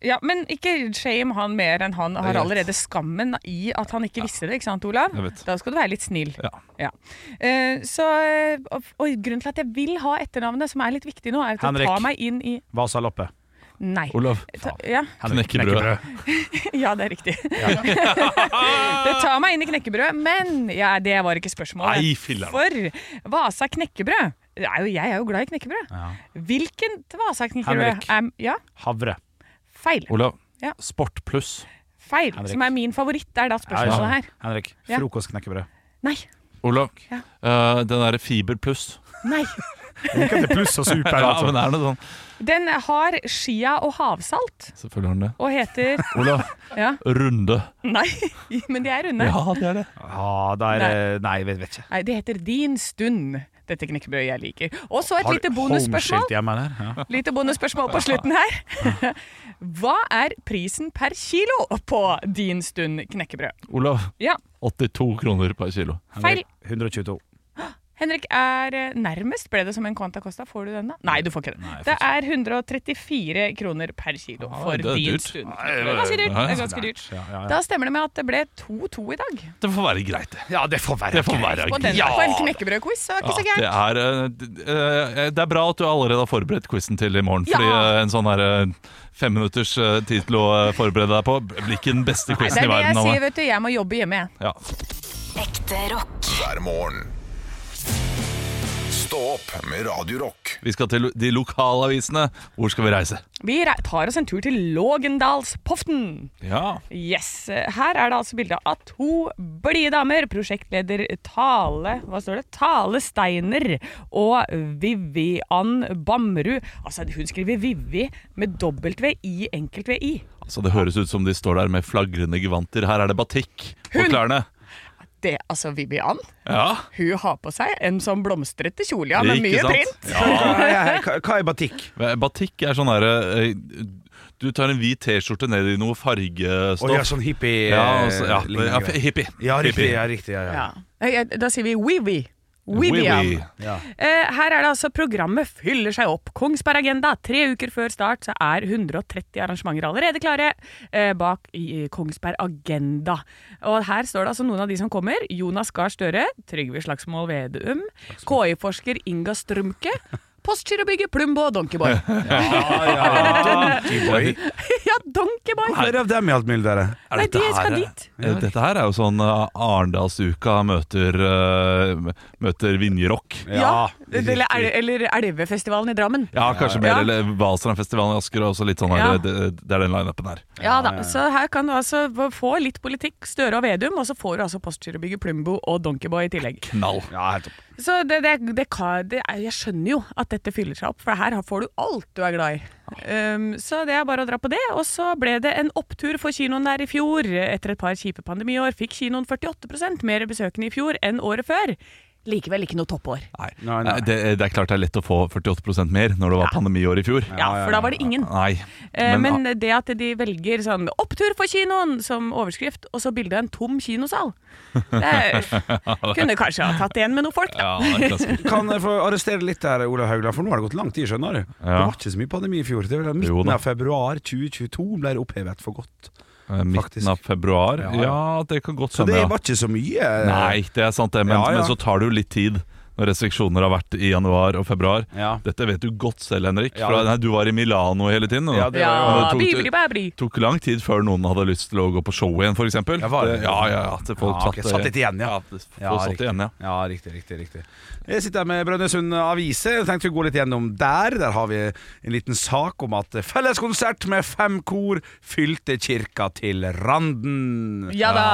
E: Ja, Men ikke shame han mer enn han har allerede skammen i at han ikke visste det, ikke sant, Olav?
D: Jeg vet.
E: Da skal du være litt snill.
D: Ja.
E: Eh, så, eh, og, og grunnen til at jeg vil ha etternavnet, som er litt viktig nå, er at det
C: Henrik.
E: tar meg inn i
C: Vasaloppe.
E: Nei.
D: Olav.
E: Ta, ja,
C: Henrik
D: Knekkebrød.
E: ja, det er riktig. det tar meg inn i knekkebrød, men ja, det var ikke spørsmålet.
D: Nei, filler'n.
E: For Vasa knekkebrød det er jo, Jeg er jo glad i knekkebrød.
C: Ja.
E: Hvilket Vasa knekkebrød
C: Henrik.
E: er Ja,
C: Havre.
E: feil.
D: Olav.
E: Ja.
D: Sport pluss.
E: Feil,
C: Henrik.
E: som er min favoritt, er da
C: Ja,
E: spørsmålet
C: ja.
E: her.
C: Henrik.
E: Ja.
C: Frokostknekkebrød.
E: Nei.
D: Olav.
E: Ja.
D: eh, den derre fiber pluss.
E: Nei.
C: Ikke at det er pluss og super,
D: Ja,
C: altså.
D: men er det sånn?
E: Den har skia og havsalt
D: Selvfølgelig har den det.
E: og heter
D: Olav.
E: Ja.
D: Runde.
E: Nei, men de er runde.
D: Ja, det er det.
C: Ja, da er det Nei, vet, vet ikke.
E: Nei, det heter Din stund. Dette knekkebrødet jeg liker. Og så et
C: Har
E: lite
C: du
E: bonusspørsmål.
C: homeskilt hjemme her? Ja.
E: Lite bonusspørsmål på slutten her. Hva er prisen per kilo på din stund knekkebrød?
D: Olav,
E: Ja,
D: 82 kroner per kilo.
E: feil.
C: 122.
E: Henrik er eh, nærmest. Ble det som en Quanta Costa? Får du den, da? Nei, du får ikke den. det er 134 kroner per kilo
D: Ah,
E: for
D: det er
E: din
D: dyrt.
E: stund.
D: Nei,
E: Det er ganske dyrt.
D: nei,
E: Det er ganske dyrt.
C: Ja, ja, ja.
E: Da stemmer det med at det ble 2-2 i dag.
D: Det får være greit, det.
C: ja, det får være.
D: Det får være
E: På,
D: greit.
E: den, på en knekkebrødquiz, så det
D: Ja,
E: var ikke så
D: det,
E: gærent.
D: er, eh, d- eh, det er bra at du allerede har forberedt quizen til i morgen. Fordi
E: Ja.
D: eh, en sånn her eh, femminutters eh, tid til å eh, forberede deg på blir ikke den beste
E: Nei, Det
D: quizen i
E: er det
D: verden.
E: jeg
D: av
E: sier,
D: meg.
E: vet du. Jeg må jobbe hjemme, jeg.
D: Ja.
F: Ekte rock.
B: hver morgen. Stå opp med Radio Rock.
D: Vi skal til de lokalavisene. Hvor skal vi reise?
E: Vi re- tar oss en tur til Lågendalspoften.
D: Ja,
E: Yes. Her er det altså bilde av to blide damer. Prosjektleder Tale Hva står det? Tale Steiner og Vivian Bammerud. Altså, hun skriver Vivi med dobbelt V i enkelt V i.
D: altså Det høres ut som de står der med flagrende gevanter. Her er det batikk på
E: Hun-
D: klærne.
E: Det, altså, Vivian,
D: Ja,
E: hun har på seg en sånn blomstrete kjole, ja, med
D: ikke
E: mye
D: sant?
E: print.
D: Ja.
C: Hva er- Hva er batikk?
D: Batikk er sånn herre eh, Du tar en hvit T-skjorte ned i noe fargestoff.
C: Å ja, sånn hippie
D: Ja,
C: eh,
D: altså, ja, ja,
C: lignende.
D: hippie.
C: Ja, riktig.
D: Hippie.
C: Ja, riktig ja, ja.
E: Ja. Eh, Da sier vi Wiwi.
D: Wee-wee.
E: Vivian.
C: Ja.
E: Eh, her er det altså programmet fyller seg opp. Kongsberg Agenda. Tre uker før start så er 130 arrangementer allerede klare eh, bak i i Kongsberg Agenda. Og her står det altså noen av de som kommer. Jonas Gahr Støre, Trygve Slagsmål Vedum, KI-forsker Inga Strømke. Postgirobygget Plumbo og Donkeyboy. Ah,
C: Donkeyboy.
E: ja, Donkeyboy!
C: Flere av dem i alt mildere.
D: Er
E: Nei,
D: dette
E: de skal
D: her-
E: dit.
D: Eh, Dette her er jo sånn eh, Arendalsuka møter, eh, møter Vinjerock.
E: Ja, eller, El- eller Elvefestivalen i Drammen.
D: Ja, kanskje mer.
E: Ja.
D: Eller Valstrandfestivalen i Asker. er Også litt sånn her,
E: Ja.
D: det, det er den lineupen her.
E: Ja da, så her kan du altså få litt politikk, Støre og Vedum, og så får du altså Postgirobygget Plumbo og Donkeyboy i tillegg.
D: Knall.
C: Ja, helt topp.
E: Så det, det, det, kan- det er, jeg skjønner jo at dette fyller seg opp, for her får du alt du er glad i. Um, så det er bare å dra på det. Og så ble det en opptur for kinoen der i fjor. Etter et par kjipe pandemiår fikk kinoen 48 mer besøkende i fjor enn året før. Likevel ikke noe toppår.
D: Nei.
C: Nei, nei.
D: Eh, Det, det er klart det er lett å få 48 mer når det var pandemiår i fjor.
E: Ja, for da var det ingen.
D: Nei.
E: Eh,
D: Men,
E: Men det at de velger sånn 'opptur for kinoen' som overskrift, og så bilde av en tom kinosal Det kunne kanskje ha tatt igjen med noen folk, da.
D: ja, det er klassisk.
C: Kan jeg få arrestere litt der, Olav Haugland, for nå har det gått lang tid, skjønner du. Det var ikke så mye pandemi i fjor. Det var
D: Jo
C: Midten
D: da.
C: av februar 2022 ble det opphevet for godt.
D: Eh, Midten
C: Faktisk.
D: av februar.
C: Ja, ja.
D: Ja, det kan godt
C: Så det
D: hende. ja.
C: var ikke så mye.
D: Nei, det er sant det, men,
C: Ja, ja.
D: men så tar det jo litt tid når restriksjoner har vært i januar og februar.
C: Ja.
D: Dette vet du godt selv, Henrik.
C: Ja,
D: For
C: det-
D: nei, du var i Milano hele tiden. og
C: Ja, det var
E: Ja,
D: jo- Men det tok-
E: bibli bæbli.
D: tok lang tid før noen hadde lyst til å gå på show igjen, f.eks.
C: Ja, var det?
D: ja, ja, ja, til folk
C: Ja, ok, satt litt igjen, ja.
D: det- folk
C: Ja,
D: satt
C: riktig.
D: igjen, ja.
C: Ja, riktig, riktig, riktig Jeg sitter her med Brønnøysund Avise Jeg tenkte vi går litt gjennom der Der har vi en liten sak om at Felleskonsert med fem kor Fylte kirka til randen
E: Ja da.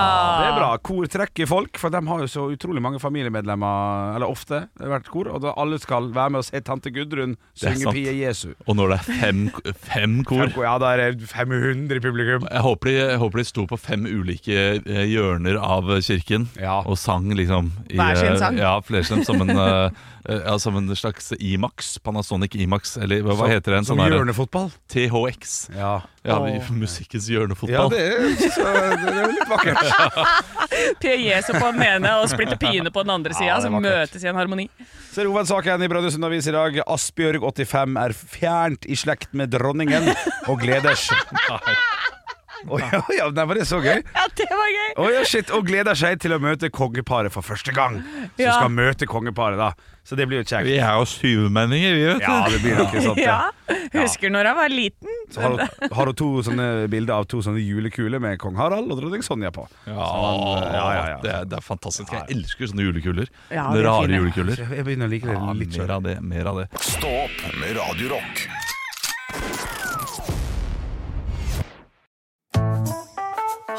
C: Det er bra, kor trekker folk For de har jo så utrolig mange familiemedlemmer Eller ofte, det har vært kor Og da alle skal være med og se Tante Gudrun
D: er sant.
C: Synge Pia Jesu
D: Og når det er fem, fem kor
C: Fem kor, Ja, da er det 500 i publikum
D: jeg håper, de, jeg håper de sto på fem ulike eh, hjørner av kirken
C: Ja.
D: og sang liksom i,
E: Hver sin sang?
D: eh, Ja, flere som, som, en, eh, eh, ja, som en slags Imax, Panasonic Imax, eller hva, hva heter den? Sånn
C: Som
D: her-
C: hjørnefotball
D: THX.
C: Ja,
D: Ja, musikkens hjørnefotball.
C: ja det, er, så, det er jo litt vakkert
E: Jesu på den ene og splitter pine på den andre sida,
C: det
E: som
C: var kult.
E: møtes i en harmoni.
C: Så er det hovedsaken i Brønnøysund Avis i dag. Asbjørg 85 er fjernt i slekt med dronningen og gleder seg Å ja, ja, nei, var det så gøy?
E: Ja, det var gøy!
C: Å ja, shit, Og gleder seg til å møte kongeparet for første gang. Så
E: Ja.
C: skal møte kongeparet, da. Så det blir jo kjekt.
D: Vi er jo syvmenninger, vi, vet
C: Ja, det blir nok sånn.
E: Ja, Husker når jeg var liten.
C: Så har hun, har hun to sånne bilder av to sånne julekuler med kong Harald og dronning Sonja på.
D: Ja,
C: ja, ja, ja.
D: Det, er, det er fantastisk. Jeg elsker sånne julekuler.
E: Ja,
D: Sånne
E: de er
D: Rare
E: fine.
D: julekuler.
C: Jeg begynner å like det
D: Ja,
C: litt sjøl.
D: mer av det. mer av det
B: Stå opp med Radio Rock.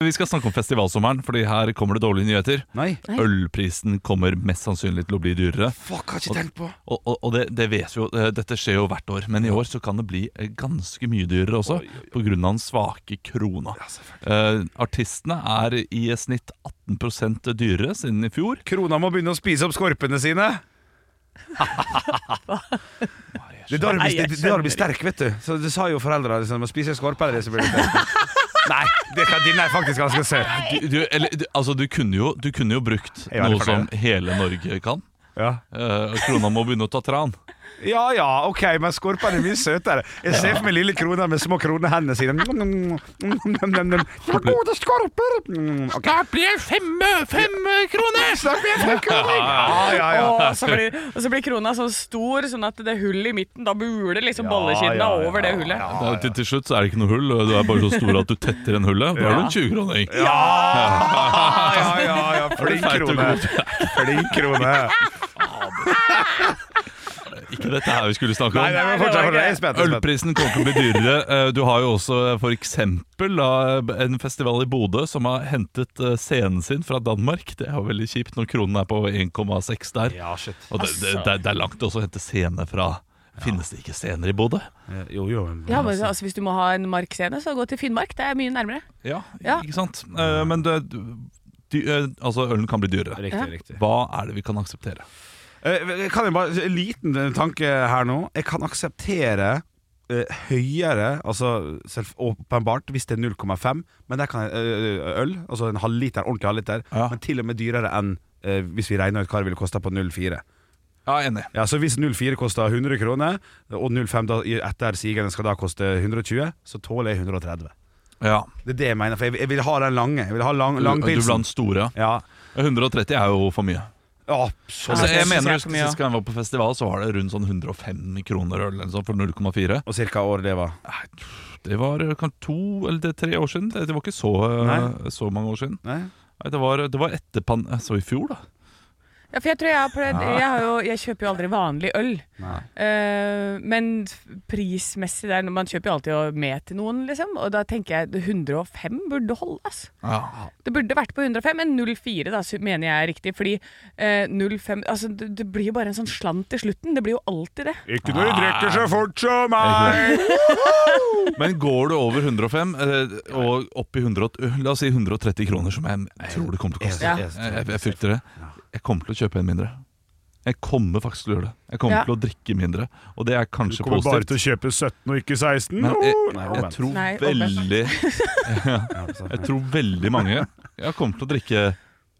D: Vi vi skal snakke om festivalsommeren, Fordi her kommer det dårlige nyheter.
C: Nei.
D: Ølprisen kommer mest sannsynlig til å bli dyrere.
C: Fuck, har ikke tenkt på.
D: Og, og, og det, det vet vi jo, eh, dette skjer jo hvert år, men i år så kan det bli eh, ganske mye dyrere også, pga. den svake krona. Eh, artistene er i snitt 18 dyrere siden i fjor.
C: Krona må begynne å spise opp skorpene sine. Det er da du
E: Nei,
C: blir,
E: jeg
C: det, det er da du blir sterk, vet du. Så Det sa jo foreldra. Liksom, spiser jeg skorpe eller så blir du sterk. Nei, det kan, den er faktisk ganske søt.
D: Du, du, eller, du, altså, du, kunne jo, du kunne jo brukt
C: Jeg er veldig
D: noe som hele Norge kan.
C: Ja.
D: Eh, krona må begynne å ta tran.
C: ja ja, OK, men skorpene er mye søtere. Jeg ser for meg lille krona med små kronehendene sine. Mm, mm, mm, mm, mm, mm. Det var Gode skorper! Mm, OK.
D: blir fem, kroner!
C: Snakk med en kroning! Ja, ja, ja.
E: Og, så blir, og så blir krona så stor, sånn at det hullet i midten Da buler liksom
C: Ja,
E: bollekidene
C: ja, ja,
E: over det hullet.
C: ja.
D: Til, til slutt så er det ikke noe hull, og du er bare så stor at du tetter en hullet. Da er du en 20-kroning.
C: Ja, ja, ja, ja. Flink
D: feit og
C: krone.
D: god.
C: Flink krone.
D: Ikke dette her vi skulle snakke om.
C: Nei, nei, men fortsatt, fortsatt. Jeg er spent. jeg er spent.
D: Ølprisen kommer til å bli dyrere. Eh, Du har jo også for eksempel da, en festival i Bodø som har hentet eh, scenen sin fra Danmark. Det er jo veldig kjipt når kronen er på 1,6 der.
C: Ja, shit.
D: Og det, det, det, det er langt også å hente scene fra Finnes det ikke scener i Bodø?
C: Eh, Jo, jo. men-
E: Ja, men altså, Hvis du må ha en markscene, så gå til Finnmark. Det er mye nærmere.
D: Ja,
E: Ja.
D: ikke sant? Eh, Men det, dy, eh, altså, ølen kan bli dyrere.
C: Riktig, riktig.
D: Hva er det vi kan akseptere?
C: Eh, Kan jeg bare, En liten eh, tanke her nå. Jeg kan akseptere eh, høyere, altså selv, åpenbart, hvis det er 0,5 Men der kan jeg, eh, øl, altså en halvliter, ordentlig halvliter,
D: Ja.
C: men til og med dyrere enn eh, hvis vi regner ut hva det ville kosta på 0,4.
D: Ja, enig.
C: Ja, så Hvis 0,4 koster 100 kroner, og 0,5 da, i- etter sigende skal da koste 120, så tåler jeg 130.
D: Ja.
C: Det er det jeg mener, for jeg, vil- jeg vil ha den lange. Jeg vil ha lang,
D: Du,
C: lang
D: du
C: pilsen.
D: blant store. ja.
C: Ja,
D: 130 er jo for mye.
C: absolutt.
D: Altså,
E: det
D: jeg
E: synes
D: mener
E: jeg er
D: husk,
E: for mye,
D: Sist gang jeg var på festival, så var det rundt sånn 105 kroner øl eller sånn for 0,4.
C: Og cirka året det var.
D: Nei, Det var eh, kan- to eller det, er tre år siden. Det, det var ikke så, eh,
C: Nei.
D: så mange år siden.
C: Nei?
D: Nei, det, var, det var etter pan... eh, Så i fjor, da.
E: Ja, for jeg tror jeg har prøvd Jeg, har jo, jeg kjøper jo aldri vanlig øl.
C: Nei.
E: Eh, men f- prismessig der Man kjøper jo alltid jo med til noen, liksom. Og da tenker jeg 105 burde holde, altså. Det burde vært på 105, men 04 da, sy- mener jeg er riktig. Fordi eh, 05 altså, det, det blir jo bare en sånn slant til slutten. Det blir jo alltid det.
C: Ikke når du drikker så fort som meg!
D: Men går du over 105 eh, og opp i 100, og- la oss si 130 kroner, som jeg tror det kommer til å koste
E: Ja.
D: Jeg, jeg, jeg frykter det. Jeg kommer til å kjøpe en mindre. Jeg kommer faktisk til å gjøre det. Jeg kommer
E: Ja.
D: til å drikke mindre, og det er kanskje
C: Kommer bare
D: positivt.
C: til å kjøpe 17 og ikke 16.
D: Men jeg,
C: Nei,
D: jeg, jeg
C: omvendt.
D: tror
E: Nei, omvendt.
D: veldig
C: Ja, sant.
D: Jeg tror veldig mange Jeg kommer til å drikke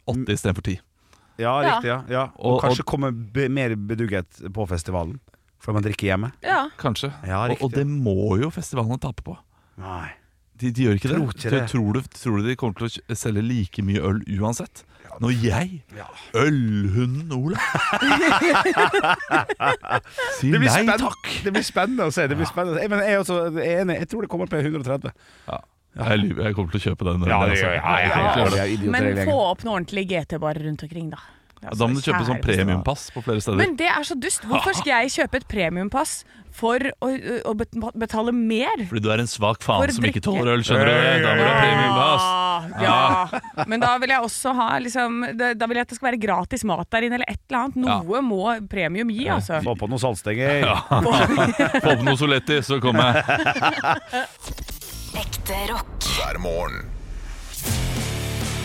D: 80 istedenfor 10.
C: ja, riktig. Ja. ja. Og,
D: Og-
C: kanskje komme be mer bedugget på festivalen. For man drikker hjemme.
E: Ja.
D: Kanskje.
C: Ja,
D: og, og
C: riktig.
D: det må jo festivalene tape på.
C: Nei.
D: De, de gjør ikke
C: Tror
D: det.
C: ikke det.
D: Tror, du, tror du de kommer til å kj- selge like mye øl uansett? Når jeg, ølhunden Olav Sier
C: Det blir,
D: nei
C: spenn-
D: takk!
C: det blir spennende å se. Det blir spennende. å se. Men jeg, er også, jeg er enig. Jeg tror det kommer på 130.
D: Jeg, lyver, jeg kommer til å kjøpe den. ølen, altså.
C: Vi er idioter,
E: Men
C: hele
E: få
C: gjengen.
E: opp noen ordentlige GT-barer rundt omkring, da. Det er
D: Da må
E: altså
D: du kjøpe sånn
E: kjære-
D: premiumpass på flere steder.
E: Men det er så dust. Hvorfor skal jeg kjøpe et premiumpass for å, å bet- betale mer?
D: Fordi du er en svak
E: For
D: faen som
E: drikke.
D: ikke tåler øl, skjønner du det? Da må du ha premiumpass.
E: Ah, Ja, ja.
D: Ah.
E: Men da vil jeg også ha liksom, det- Da vil jeg at det skal være gratis mat der inne, eller et eller annet. Noe må premium gi, altså.
C: Få på noen saltstenger.
D: Få opp noe Soletti, så kommer jeg.
F: Ekte rock.
B: hver morgen.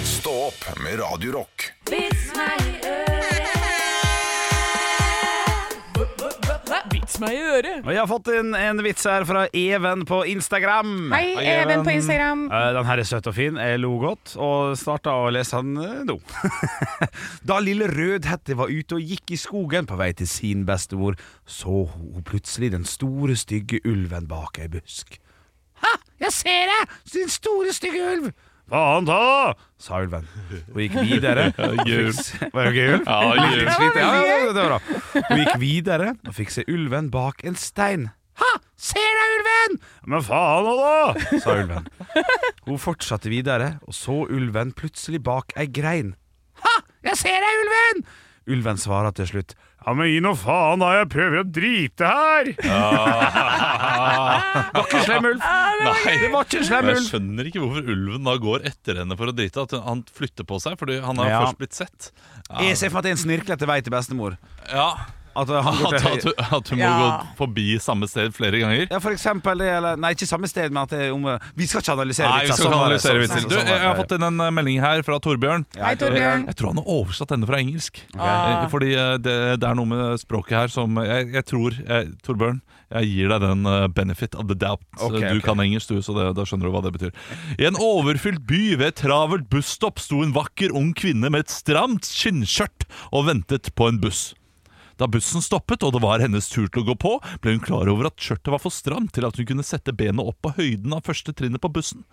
B: Stå opp med Radio Rock.
E: Vits meg i øret.
C: Og jeg har fått inn en vits her fra Even på Instagram.
E: Hei, Even på Instagram.
C: Eh, Den her er søt og fin. Jeg lo godt og starta å lese den eh, nå. da lille Rødhette var ute og gikk i skogen på vei til sin bestemor, så hun plutselig den store, stygge ulven bak ei busk. Ha! Jeg ser deg! Din store, stygge ulv! Faen ta! sa ulven og gikk videre.
D: gul.
C: Var det gul?
D: Ja, jul.
C: Slitt, ja, ja, det var bra. Hun gikk videre og fikk se ulven bak en stein. Ha! Ser deg, ulven! Men faen nå, da! sa ulven. Hun fortsatte videre og så ulven plutselig bak ei grein. Ha! Jeg ser deg, ulven! Ulven svarer til Ah. slutt. Ja, men gi nå faen, da. Jeg prøver å drite her. Var ikke en slem ulv!
D: Nei,
C: Det var ikke en slem
D: Men jeg
C: ulv!
D: skjønner ikke hvorfor ulven da går etter henne for å drite. At hun- han flytter på seg, fordi han har
C: Ja.
D: først blitt sett. Ja,
C: Jeg ser for meg at det er en snirklete vei til bestemor.
D: ja.
C: At han går
D: At,
C: til
D: at, hun- at hun må
E: Ja.
D: gå forbi samme sted flere ganger.
C: Ja, for eksempel det, eller Nei, ikke samme sted, men at det er om Vi skal ikke analysere
D: Nei, vi
C: vitser, sånn
D: skal ikke
C: var det,
D: analysere
C: sånn-
D: vitser.
C: sånn-
D: Du,
C: sånn var
D: jeg har
C: det.
D: fått inn en eh, melding her fra Torbjørn. Eh,
C: Ja, jeg tror-
E: Torbjørn.
D: Jeg tror han har oversatt denne fra engelsk. Eh, Fordi eh, det, det er noe med språket her som eh, Jeg, jeg tror jeg, Torbjørn, jeg gir deg den eh, benefit of the doubt.
C: Ok,
D: Eh, du
C: ok.
D: kan engelsk, du, så det, da skjønner du hva det betyr. I en overfylt by ved et travelt busstopp sto en vakker ung kvinne med et stramt skinnskjørt og ventet på en buss. Da bussen stoppet og det var hennes tur til å gå på, ble hun klar over at skjørtet var for stramt til at hun kunne sette benet opp på høyden av første trinnet på bussen.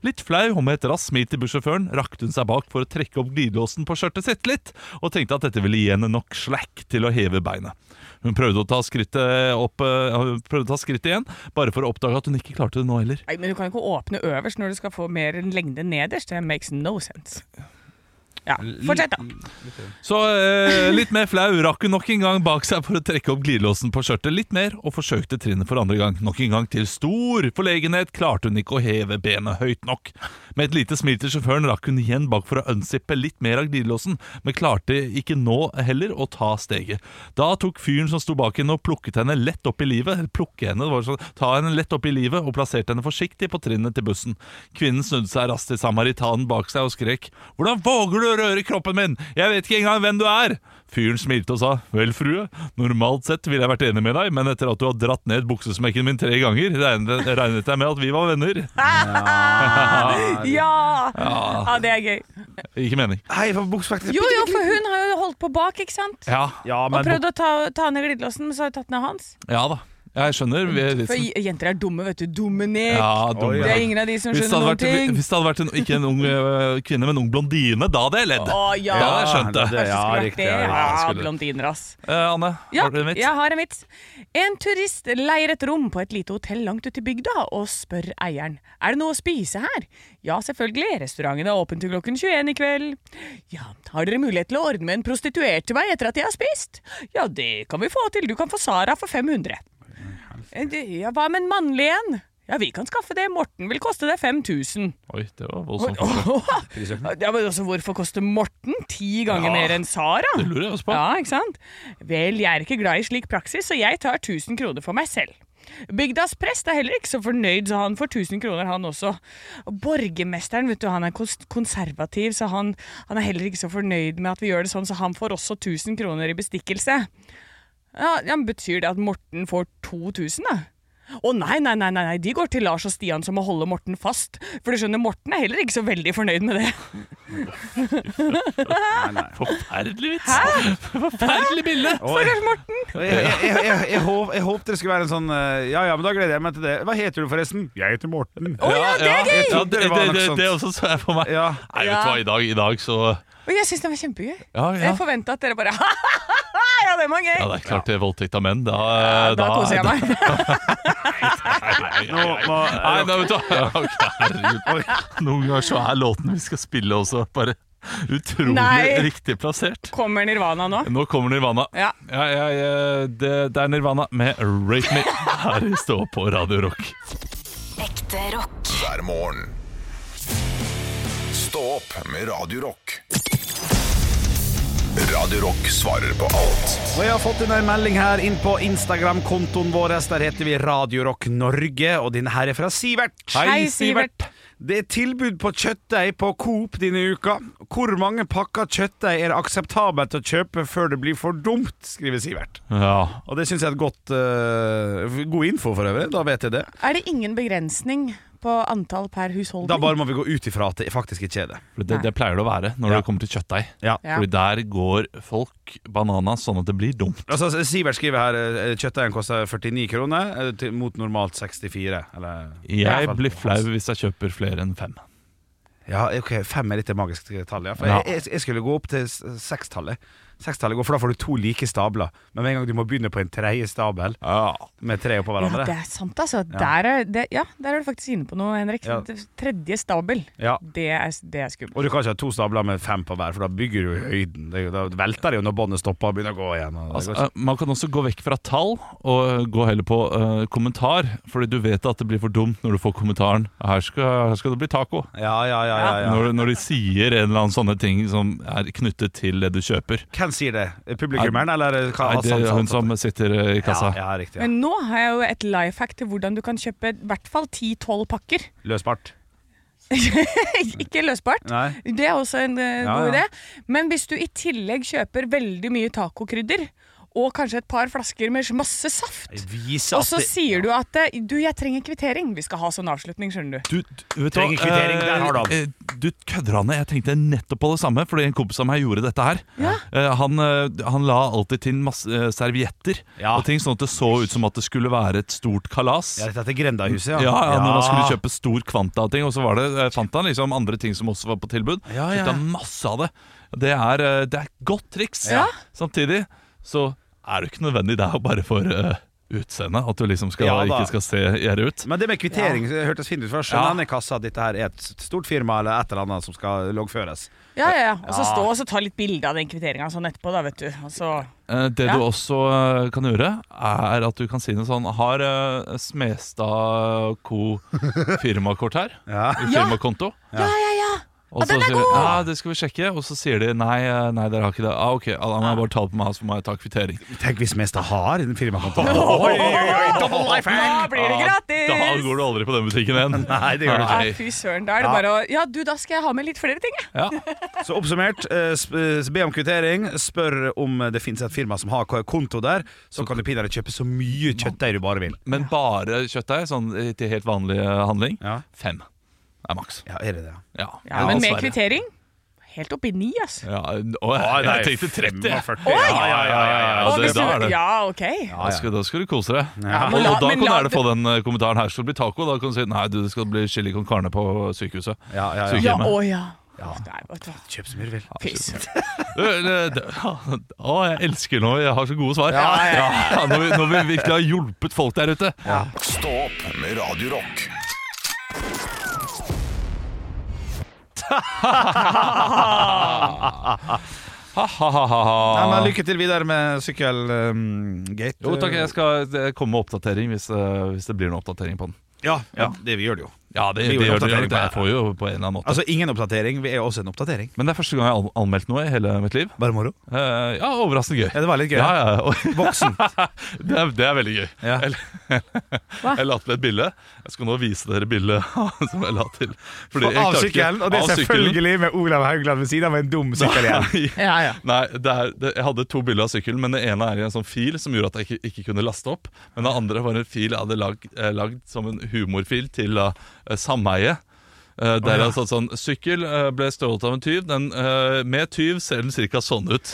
D: Litt flau og med et raskt smil til bussjåføren rakte hun seg bak for å trekke opp glidelåsen på skjørtet sitt litt, og tenkte at dette ville gi henne nok slack til å heve beinet. Hun prøvde å ta skrittet, opp, eh, hun prøvde å ta skrittet igjen, bare for å oppdage at hun ikke klarte det nå heller.
E: Nei, men du kan jo ikke åpne øverst når du skal få mer enn lengde nederst. Det makes no sense. Ja, fortsett, da.
D: Så eh, litt mer flau rakk hun nok en gang bak seg for å trekke opp glidelåsen på skjørtet litt mer, og forsøkte trinnet for andre gang. Nok en gang til stor forlegenhet klarte hun ikke å heve benet høyt nok. Med et lite smil til sjåføren rakk hun igjen bak for å unzippe litt mer av glidelåsen, men klarte ikke nå heller å ta steget. Da tok fyren som sto bak henne og plukket henne lett opp i livet, eller plukke henne, det var sånn, ta henne lett opp i livet og plasserte henne forsiktig på trinnet til bussen. Kvinnen snudde seg raskt til samaritanen bak seg og skrek Hvordan våger du å røre kroppen min? Jeg vet ikke engang hvem du er! Fyren smilte og sa Vel, frue, normalt sett ville jeg vært enig med deg, men etter at du har dratt ned buksesmekken min tre ganger, regnet, regnet jeg med at vi var venner.
C: Ah,
E: Ja! ja, det er gøy.
D: Ikke mening.
C: Hei, for buksfaktisk
E: Jo, jo, for hun har jo holdt på bak, ikke sant?
D: Ja,
C: Ja,
E: Og
C: men
E: prøvd å ta, ta ned glidelåsen, men så har hun tatt ned hans.
D: ja da. Jeg skjønner. Vi er litt
E: For
D: som-
E: j- jenter er dumme, vet du. Dumme nek.
D: ja,
C: Oi,
D: dumme.
E: Det er ingen av de som
D: Hvis det hadde
E: skjønner noen
D: vært,
E: ting.
D: hvis det hadde vært en, ikke en ung øh, kvinne, men en ung blondine, da hadde jeg ledd.
E: Å ja.
D: Da hadde jeg skjønt det.
C: det- ja,
E: Kanskje det skulle vært
C: riktig,
E: det.
C: ja,
E: Ja,
D: jeg skulle-
E: blondiner, ass.
D: Eh, Anne,
E: Ja,
D: har du en vits?
E: jeg har en vits. En turist leier et rom på et lite hotell langt ute i bygda og spør eieren Er det noe å spise her. Ja, selvfølgelig, restauranten er åpen til klokken 21 i kveld. Ja, har dere mulighet til å ordne en prostituert til meg etter at jeg har spist? Ja, det kan vi få til, du kan få Sara for 500. Eh, det- Ja, hva med en mannlig en? Ja, vi kan skaffe det, Morten vil koste deg 5000.
D: Oi, det var voldsomt.
E: Ja, men også hvorfor koster Morten ti ganger
D: Ja,
E: mer enn Sara?
D: Det lurer jeg også på.
E: Ja, ikke sant? Vel, jeg er ikke glad i slik praksis, så jeg tar 1000 kroner for meg selv. Bygdas prest er heller ikke så fornøyd, så han får 1000 kroner, han også. Og Borgermesteren vet du, han er kons- konservativ, så han, han er heller ikke så fornøyd med at vi gjør det sånn, så han får også 1000 kroner i bestikkelse. Ja, ja, men Betyr det at Morten får 2000, da? Å nei, nei, nei, nei, nei, de går til Lars og Stian som må holde Morten fast. For du skjønner, Morten er heller ikke så veldig fornøyd med det.
D: Forferdelig vits! Forferdelig bilde!
E: Stakkars Morten!
C: jeg, jeg, jeg, jeg, jeg, håp, jeg håpte det skulle være en sånn eh, Ja ja, men da gleder jeg meg til det. Hva heter du forresten? Jeg heter Morten.
E: Å ja, det er gøy!
D: Ja,
C: trodde
D: det,
C: det var
D: det,
C: noe
D: det,
C: sånt.
D: det også så jeg for meg.
C: Ja.
D: Nei, vet du hva, i dag, i dag så
E: Og jeg syns det var kjempegøy.
D: Ja, ja.
E: Jeg forventa at dere bare Ja, det var gøy!
D: ja det er klart det er voldtekt av menn. Da,
E: da, koser jeg meg.
C: Nå må
D: Nei, nei, vet du hva. Ja, ok, herregud. Oi. Noen ganger så er låten vi skal spille også, bare utrolig
E: Nei.
D: riktig plassert.
E: Kommer Nirvana nå?
D: Nå kommer Nirvana.
E: Ja.
D: jeg, eh, det, det er Nirvana med 'Rape Me' her i Stå på Radio Rock.
F: Ekte rock.
B: hver morgen. Stå opp med Radio Rock. Radio Rock svarer på alt
C: Og jeg har fått inn en melding her inn på Instagram-kontoen vår. Der heter vi Radio Rock Norge, og denne her er fra Sivert.
E: Hei, Sivert.
C: Det er tilbud på kjøttdeig på Coop denne uka. Hvor mange pakker kjøttdeig er det akseptabelt å kjøpe før det blir for dumt, skriver Sivert.
D: Ja.
C: Og det syns jeg er et godt eh, god info, for øvrig. Da vet jeg det.
E: Er det ingen begrensning på antall per husholdning?
C: Da bare må vi gå ut ifra at det faktisk ikke er det.
D: For det, det pleier det å være når
C: Ja.
D: det kommer til kjøttdeig.
C: Ja.
E: Ja.
D: Fordi der går folk banana sånn at det blir dumt.
C: Altså, Sivert skriver her eh, kjøttdeigen koster 49 kroner, eh, til- mot normalt 64. Eller i hvert
D: Jeg
C: fall.
D: blir flau hvis jeg kjøper flere enn fem.
C: Ja, ok, Fem er litt et magisk tall. Ja. For
D: Ja.
C: Jeg, jeg, jeg skulle gå opp til s- sekstallet. Sekstallet går, for da får du to like stabler. Men med en gang du må begynne på en tredje stabel
D: Ja.
C: med tre oppå
E: Ja, det
C: hverandre
E: er sant, altså. Der er, det, ja, der er du faktisk inne på noe, Henrik.
C: Ja.
E: Tredje stabel.
C: Ja.
E: Det er, det er skummelt.
C: Og du kan ikke ha to stabler med fem på hver, for da bygger du i høyden. Det, da velter det jo når båndet stopper og begynner å gå igjen. Og det
D: Altså,
C: går ikke.
D: eh, man kan også gå vekk fra tall og eh, gå heller på eh, kommentar. Fordi du vet at det blir for dumt når du får kommentaren Her skal, her skal det bli taco.
C: ja, ja, ja, ja, ja.
D: Når, når de sier en eller annen sånne ting som er knyttet til det du kjøper.
C: Hvem sier det? Publikummeren, eller hva?
D: Nei, det
C: Hassan
D: er
C: sa?
D: hun som sitter eh, i
C: ja,
D: kassa.
C: ja, riktig. Ja.
E: Men nå har jeg jo et life hack til hvordan du kan kjøpe i hvert fall 10-12 pakker.
C: Løsbart.
E: Ikke løsbart.
C: Nei.
E: Det er også en eh,
C: Ja,
E: god
C: ja.
E: idé. Men hvis du i tillegg kjøper veldig mye tacokrydder, og kanskje et par flasker med masse saft,
C: Vise
E: og så sier du at eh, du, jeg trenger kvittering. Vi skal ha sånn avslutning, skjønner du.
D: Du, du vet
C: Trenger kvittering, der har du han.
D: eh, Du kødder han ned. Jeg tenkte nettopp på det samme, fordi en kompis av meg gjorde dette her. Eh, Han, eh, han la alltid til masse eh, servietter
C: Ja.
D: og ting, sånn at det så ut som at det skulle være et stort kalas.
C: Ja, dette er Grendahuset, ja.
D: Ja, ja, når han skulle
C: Ja.
D: kjøpe stor kvanta av ting, og så var det, eh, fant han liksom andre ting som også var på tilbud.
C: Ja, ja.
D: Kjøpte han masse av det. Det er, eh, det er et godt triks.
E: Ja.
D: Samtidig så er det ikke nødvendig det er jo bare for uh, utseendet, at du liksom skal,
C: Ja, da.
D: ikke skal se gjerrig ut.
C: Men det med kvittering det hørtes fint ut. For jeg
D: Ja.
C: skjønner han i kassa at dette her er et stort firma eller et eller annet som skal loggføres.
E: Ja, ja, ja. Og så stå og så ta litt bilde av den kvitteringa sånn etterpå, da, vet du. Og så
D: Eh, Det
E: Ja.
D: du også eh, kan gjøre, er at du kan si noe sånn Har eh, Smestad Co. firmakort her?
C: Ja.
E: Ja.
D: Firmakonto?
E: Ja, ja, ja!
D: Og så
E: den er
D: sier,
E: god!
D: ja, det skal vi sjekke. Og så sier de nei, eh, nei dere har ikke det. Ah, ok, ah, Da må jeg bare ta det på meg, så må jeg ta kvittering.
C: Tenk hvis Mesta har en firmakonto.
E: Double life Da blir det gratis!
D: Ah, Da går du aldri på den butikken igjen.
C: Nei, det gjør du
E: Ja,
D: Nei.
E: fy søren. Da er det
C: Ja.
E: bare å Ja, du, da skal jeg ha med litt flere ting, jeg.
D: Ja.
C: Så oppsummert, eh, sp- eh, be om kvittering. Spør om det fins et firma som har k- konto der. Så kan du pinadø kjøpe så mye kjøttdeig du bare vil.
D: Men bare kjøttdeig, sånn eh, til helt vanlig eh, handling.
C: Ja.
D: Fem er maks.
C: Ja, er det det?
D: Ja,
E: Ja, men med
D: dessverre.
E: kvittering helt opp i ni, altså.
D: Ja, å, jeg, jeg tenkte 30. jeg.
C: 45.
E: Oi!
C: Ja, ja, ja, ja,
D: Og
C: ja.
E: Å,
D: det-
E: hvis du-
D: da er det-
E: Ja, OK.
D: Da skal, da skal du kose deg.
E: Ja, men
D: og,
E: la-
D: og da
E: men
D: kan du
E: la-
D: gjerne få den eh, kommentaren her skal det bli taco. Da kan du si nei, du, det skal bli chili con carne på sykehuset.
C: Ja, ja, ja.
E: Ja,
D: Sykehjemmet.
E: å ja. Nei, vet du hva.
C: Kjøp så mye du vil.
E: Fy søren.
D: Du, eller, Øh, det- Å, jeg elsker når jeg har så gode svar.
E: Ja, ja,
D: Ja, når, vi, når vi virkelig har hjulpet folk der ute.
B: Stå opp med Radio Rock.
C: Ja, men
D: Ha-ha-ha.
C: lykke til videre med ehm, sykkelgate.
D: Jo takk, jeg skal eh, komme med oppdatering hvis, eh, hvis det blir noen oppdatering på den.
C: Ja, ja, det vi gjør det jo.
D: Ja, det,
C: Vi
D: det,
C: gjorde
D: gjør det,
C: oppdatering
D: det,
C: på-
D: jeg får jo på en eller annen måte.
C: Altså ingen oppdatering. Vi er også en oppdatering.
D: Men det er første gang jeg har an- anmeldt noe i hele mitt liv.
C: Bare moro.
D: Eh, ja, overraskende gøy.
C: Ja, det var litt gøy.
D: Ja, ja, og-
C: Voksen.
D: Det er, det er veldig gøy.
C: Ja.
D: Jeg, jeg la til et bilde. Jeg skal nå vise dere bildet som jeg la til. Fordi
C: Av
D: jeg klarte ikke-
C: sykkelen, og det
D: av
C: er
D: sykkelen.
C: selvfølgelig med Olav Haugland ved siden av en dum sykkel igjen.
D: Nei,
E: Ja, ja.
D: Nei det er, det, jeg hadde to bilder av sykkelen, men det ene er i en sånn fil som gjorde at jeg ikke, ikke kunne laste opp. Men det andre var en fil jeg hadde lag, eh, lagd som en humorfil til uh, sameie. Eh, der jeg satt sånn Sykkel eh, ble stjålet av en tyv. Den, eh, med tyv ser den cirka sånn ut.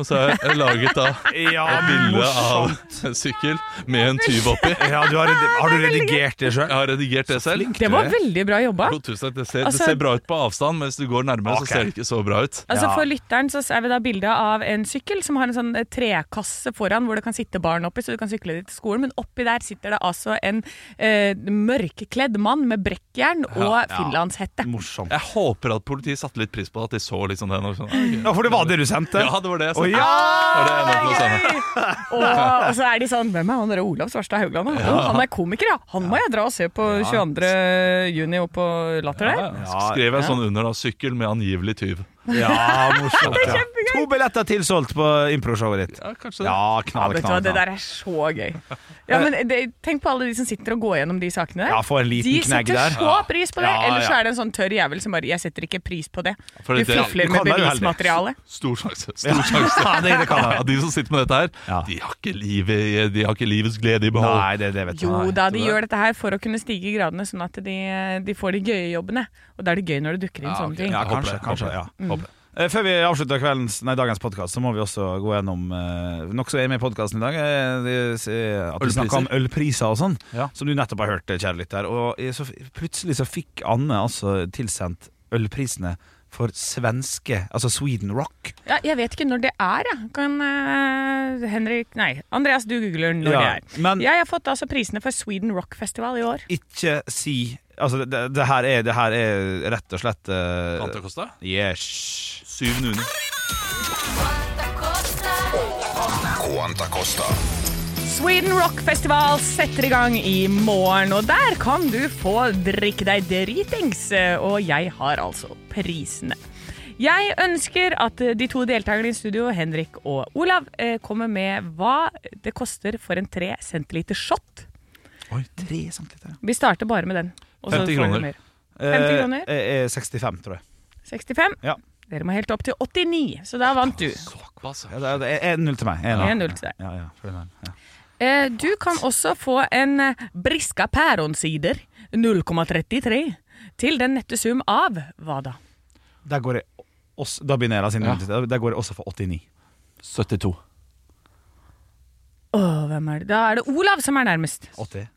D: Og så har jeg laget da
C: Ja,
D: et bilde av en sykkel med en tyv oppi.
C: Ja, du har, redi- har du redigert det sjøl?
D: Jeg har redigert det selv.
E: Det var veldig bra jobba.
D: Jo, tusen takk. Det ser,
E: Altså-
D: det ser bra ut på avstand, men hvis du går nærmere,
C: Ok.
D: så ser det ikke så bra ut.
E: Altså
C: Ja.
E: For lytteren så er vi da bilde av en sykkel som har en sånn eh, trekasse foran hvor det kan sitte barn oppi, så du kan sykle dit til skolen. Men oppi der sitter det altså en eh, mørkekledd mann med brekkjern og finlandshette.
C: Morsomt.
D: Jeg håper at politiet satte litt pris på at de så liksom den. Og sånn, ok.
C: Ja, for det var det du sendte?
D: Ja, det var det jeg
C: Å,
D: sendte.
C: ja!
D: Var det en av de samme?
E: Og, og så er de sånn Hvem er han der Olav Svarstad Haugland? da? Å, han er komiker, ja! Han må jeg dra og se på 22. juni opp på Latter der.
D: Ja, så skrev jeg sånn under da, 'sykkel med angivelig tyv'.
C: Ja, morsomt. Ja. To billetter tilsolgt på improshowet ditt.
D: Ja, kanskje det.
C: Ja, knall,
E: Vet du hva,
C: knall.
E: Det
C: knall.
E: der er så gøy. Ja, men eh, det, Tenk på alle de som sitter og går gjennom de sakene der.
C: Ja, få en liten
E: de
C: knegg
E: setter
C: der.
E: så pris på det!
C: Ja, ja.
E: Ellers så er det en sånn tørr jævel som bare 'jeg setter ikke pris på det'.
D: for
E: Du
D: det-
C: du
E: fifler
C: kan
E: med
C: være uheldig.
E: bevismateriale.
D: Stor sjanse. Stor sjanse.
C: Ja, det, det kan
D: Ja,
C: jeg.
D: de som sitter med dette her,
C: Ja.
D: de, har ikke livet, i- de har ikke livets glede i behold.
C: Nei, det, det vet jeg.
E: Jo
C: Nei.
E: da, de gjør dette her for å kunne stige i gradene, sånn at de, de får de gøye jobbene. Og da er det gøy når det dukker inn
D: Ja,
E: sånne
D: ok.
E: ting. Mm.
C: Ja,
D: Jeg håper
C: kanskje.
D: det,
C: kanskje
D: håper det,
C: ja. Eh, Før vi avslutter kveldens, nei, dagens podkast, så må vi også gå gjennom eh, noe som er med i podkasten i dag. Eh, det, eh, at vi
D: Ølpriser.
C: snakker om ølpriser og sånn,
D: Ja.
C: som du nettopp eh, har hørt, kjære lytter. Og eh, så, f- plutselig så fikk Anne altså tilsendt ølprisene for svenske Altså Sweden Rock.
E: Ja, jeg vet ikke når det er, jeg. Kan eh, Henrik Nei, Andreas, du googler når
C: Ja,
E: det er.
C: men-
E: Jeg har fått altså prisene for Sweden Rock Festival i år.
C: Ikke si Altså, det, det, her, er, det her er rett og slett eh,
D: Quanta Costa?
C: Yes.
D: Syv nuner.
B: Quanta Costa.
E: Sweden Rock Festival setter i gang i morgen, og der kan du få drikke deg dritings. Og jeg har altså prisene. Jeg ønsker at de to deltakerne i studio, Henrik og Olav, eh, kommer med hva det koster for en 3 centiliter shot.
C: Oi, tre centiliter.
E: Vi starter bare med den. og så
D: 50
E: får dere
D: kroner.
E: mer. 50 kroner?
C: Eh, eh, 65, tror jeg.
E: 65.
C: Ja.
E: Dere må helt opp til 89, så da vant du.
D: Såpass, ja.
C: Ja, det er- det er 1-0 til meg. En, da.
E: 1-0 til deg.
C: Ja, ja, for den her, ja.
E: Eh, Du kan også få en eh, Briska Pæronsider 0,33 til den nette sum av hva da?
C: Der går jeg også, da begynner jeg da, siden
D: Ja.
C: du- Der går jeg også for 89.
D: 72.
E: Åh, hvem er det? Da er det Olav som er nærmest.
C: 80?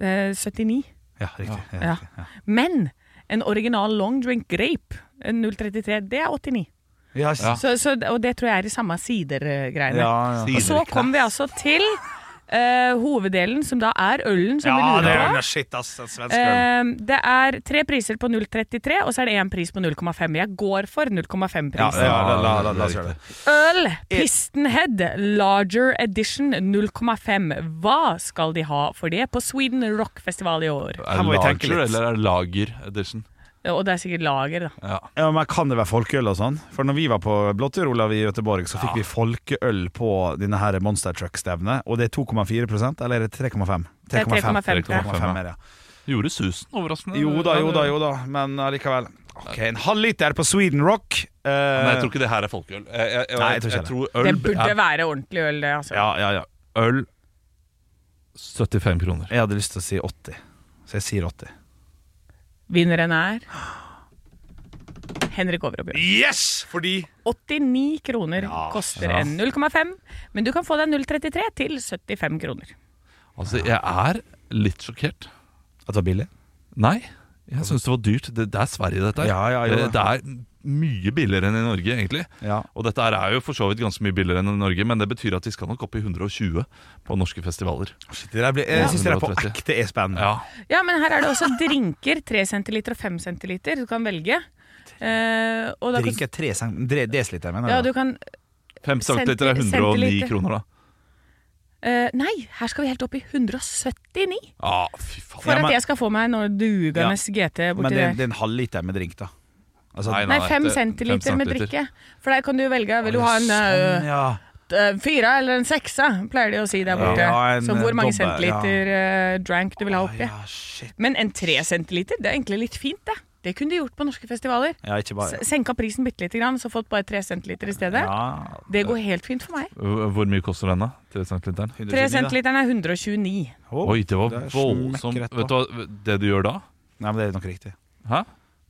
E: Eh, 79.
C: Ja, riktig. Ja.
E: Ja. Men en original long drink grape, eh, 0,33, det er 89.
C: Ja,
D: Ja.
E: Så, så, og det tror jeg er de samme sider-greiene.
C: ja, ja.
E: Og så kom vi altså til eh, hoveddelen, som da er ølen som vi
C: Ja, det
E: lurer
C: er
E: på.
C: jo shit, ass. en Svensk øl.
E: Eh, det er tre priser på 0,33, og så er det én pris på 0,5. Jeg går for
C: Ja,
E: 0,5-prisen.
C: ja, la, la, la, la oss gjøre det.
E: Øl Pistonhead Larger Edition 0,5. Hva skal de ha for det på Sweden Rock Festival i år?
D: Er
C: Her
D: det
C: må vi tenke
D: lager
C: litt.
D: eller er det lager edition?
E: Og det er sikkert lager, da.
D: Ja.
C: Ja, men Kan det være folkeøl og sånn? For når vi var på Blåtur, Olav, i Göteborg, så fikk vi folkeøl på denne her Monster Truck-stevnet. Og det er 2,4 eller er det 3,5?
E: Det er 3,5,
C: 3,5 mer, ja.
D: Gjorde susen, overraskende.
C: Jo da, jo da, jo da, men allikevel. Ok, En halvliter på Sweden Rock. Eh,
D: Nei, jeg tror ikke det her er folkeøl. Jeg, jeg, jeg,
C: Nei, jeg
D: jeg,
C: tror ikke det.
D: tror øl
E: Det burde
D: er-
E: være ordentlig øl, det. altså.
C: Ja, ja, ja.
D: Øl 75 kroner.
C: Jeg hadde lyst til å si 80, så jeg sier 80.
E: Vinneren er Henrik Overbjørn.
C: Yes! Fordi
E: 89 kroner koster
D: ja.
E: en 0,5, men du kan få deg 0,33 til 75 kroner.
D: Altså, jeg er litt sjokkert.
C: At det var billig?
D: Nei, jeg syns det var dyrt. Det, det er Sverige, dette her.
C: Ja, ja, jo
D: det,
C: da.
D: det er mye billigere enn i Norge, egentlig.
C: Ja.
D: Og dette her er jo for så vidt ganske mye billigere enn i Norge, men det betyr at de skal nok opp i 120 på norske festivaler.
C: Shit, det der blir, jeg syns det der på
D: 130.
C: ekte er spennende.
D: Ja,
E: Ja, men her er det også drinker. 3 centiliter og 5 centiliter. Du kan velge. Eh, og da kan-
C: Drinker tre cent- dre- desiliter, mener
E: Ja,
C: du?
E: du kan
D: 5 centiliter er 109
E: Centiliter.
D: kroner, da.
E: Eh, nei, her skal vi helt opp i 179
D: Ah, fy faen.
E: for
C: Ja, men-
E: at jeg skal få meg noe dugende GT
C: Men
E: borti
C: det, er-
E: der.
C: det er en halvliter med drink, da. Altså,
E: Nei,
D: det-
E: 5
D: fem
E: centiliter med
D: centiliter.
E: drikke. For der kan du velge. Vil du ha en
C: sånn,
E: eh,
C: ja.
E: eh, fyra eller en seksa, pleier de å si der borte.
C: Ja, en
E: Så hvor mange
C: dobbel,
E: centiliter eh, drank du vil ha oppi.
C: Ja, shit.
E: Men en 3 centiliter, det er egentlig litt fint, det. Det kunne de gjort på norske festivaler.
C: Ja, ikke bare
E: S- Senka prisen bitte lite grann, så fått bare 3 centiliter i stedet.
C: ja,
E: Det går helt fint for meg.
D: Hvor hvor mye koster den, da? 3 centiliteren?
E: 3
C: 129, da.
E: centiliteren er 129.
C: Å,
D: Oi, det var
C: det er
D: voldsomt.
C: smekk rett på.
D: Vet du hva, det du gjør da?
C: Nei, men det er nok riktig.
D: Hæ?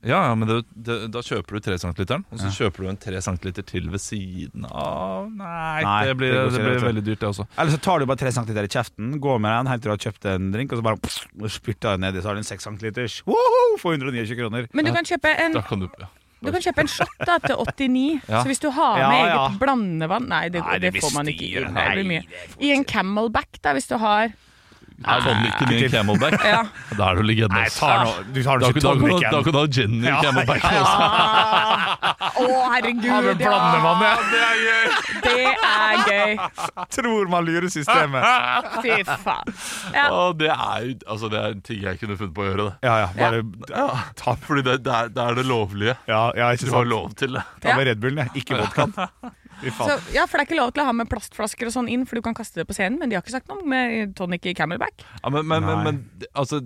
D: Ja, ja, men det, det, da kjøper du 3 cm-literen, og så kjøper du en 3 cm til ved siden av Nei,
C: Nei,
D: det altså. blir,
C: det
D: det
C: går ikke,
D: blir
C: vet du.
D: veldig dyrt, det også.
C: Eller så tar du bare 3 cm i kjeften, går med den helt til du har kjøpt en drink, og så bare pss, og spytter den nedi, så har du en 6 cm. Woho! For 129 kroner.
E: Men du kan kjøpe en
D: Da kan du ja.
E: Du kan kjøpe en shot da, til 89,
D: Ja.
E: så hvis du har med
C: Ja, ja.
E: eget blandevann Nei, det,
C: Nei,
E: det,
C: det blir
E: får man ikke
C: styr.
E: inn. Nei, det blir
C: Nei,
E: mye. I en camelback, da, hvis du har
D: Nei, Tonic til min camelback.
E: Ja.
D: Da er du legende.
C: Nei,
D: ass.
C: tar nå, du tar
D: Da
C: nå
D: kan
C: ikke
D: da kan du
C: tonic
D: da kan du ha gin i camelback også.
E: Å, herregud!
C: Ja, men blandevannet, det er gøy!
E: ja, det er gøy!
C: Tror man lurer systemet.
E: Fy faen. Ja.
D: Å, det er jo altså, det er ting jeg kunne funnet på å gjøre. det
C: Ja, ja, bare Ta,
D: Fordi det, det, er, det er det lovlige.
C: ja, ja, ikke
D: Du har
C: sant.
D: lov til det.
C: Ta med Red Bullen, jeg. Ikke vodkaen. Fy
E: Så,
C: faen.
E: ja, for det er ikke lov til å ha med plastflasker og sånn inn, for du kan kaste det på scenen, men de har ikke sagt noe med tonic i camelback.
D: Ja, men, men, men,
C: Nei.
D: men altså,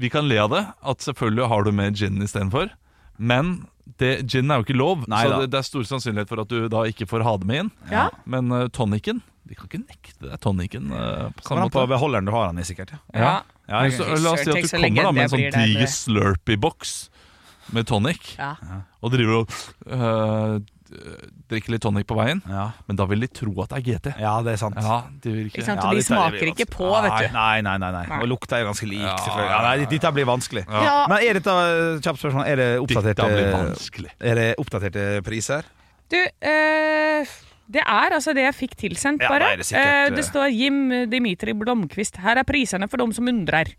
D: vi kan le av det, at selvfølgelig har du med gin istedenfor. Men det, gin er jo ikke lov,
C: Nei
D: så
C: da.
D: det, det er stor sannsynlighet for at du da ikke får ha det med inn.
E: Ja.
D: Men uh, tonicen De kan ikke nekte deg tonicen eh,
C: Kommer
D: på samme
C: an på
D: måte.
C: beholderen du har den i, sikkert. Ja.
D: Ja.
C: Ja,
D: Men så, la oss si at
E: Tenk
D: du
E: så lenge
D: kommer da med en
E: det blir
D: sånn
E: der,
D: diger
E: det.
D: slurpy-boks med tonic,
E: Ja.
D: og driver og eh, eh, drikker litt tonic på veien,
C: Ja.
D: men da vil de tro at det er GT.
C: ja, det er sant.
D: Ja, de vil ikke.
E: Ikke sant?
C: Ja,
E: og de
C: dette er
E: smaker
C: veldig
E: ikke på,
C: vanskelig.
E: vet du.
C: Nei, nei, nei, nei, nei. Og lukta er ganske lik,
D: Ja,
C: selvfølgelig. Ja, nei, dette blir vanskelig.
E: Ja.
C: Men er dette eh, kjapt spørsmål, er det
D: Dette blir
C: oppdaterte,
D: vanskelig.
C: er det oppdaterte priser?
E: Du, eh, det er altså det jeg fikk tilsendt,
C: Ja,
E: bare.
C: da er det sikkert,
E: Eh, det står Jim Dimitri Blomkvist. Her er prisene for dem som undrer.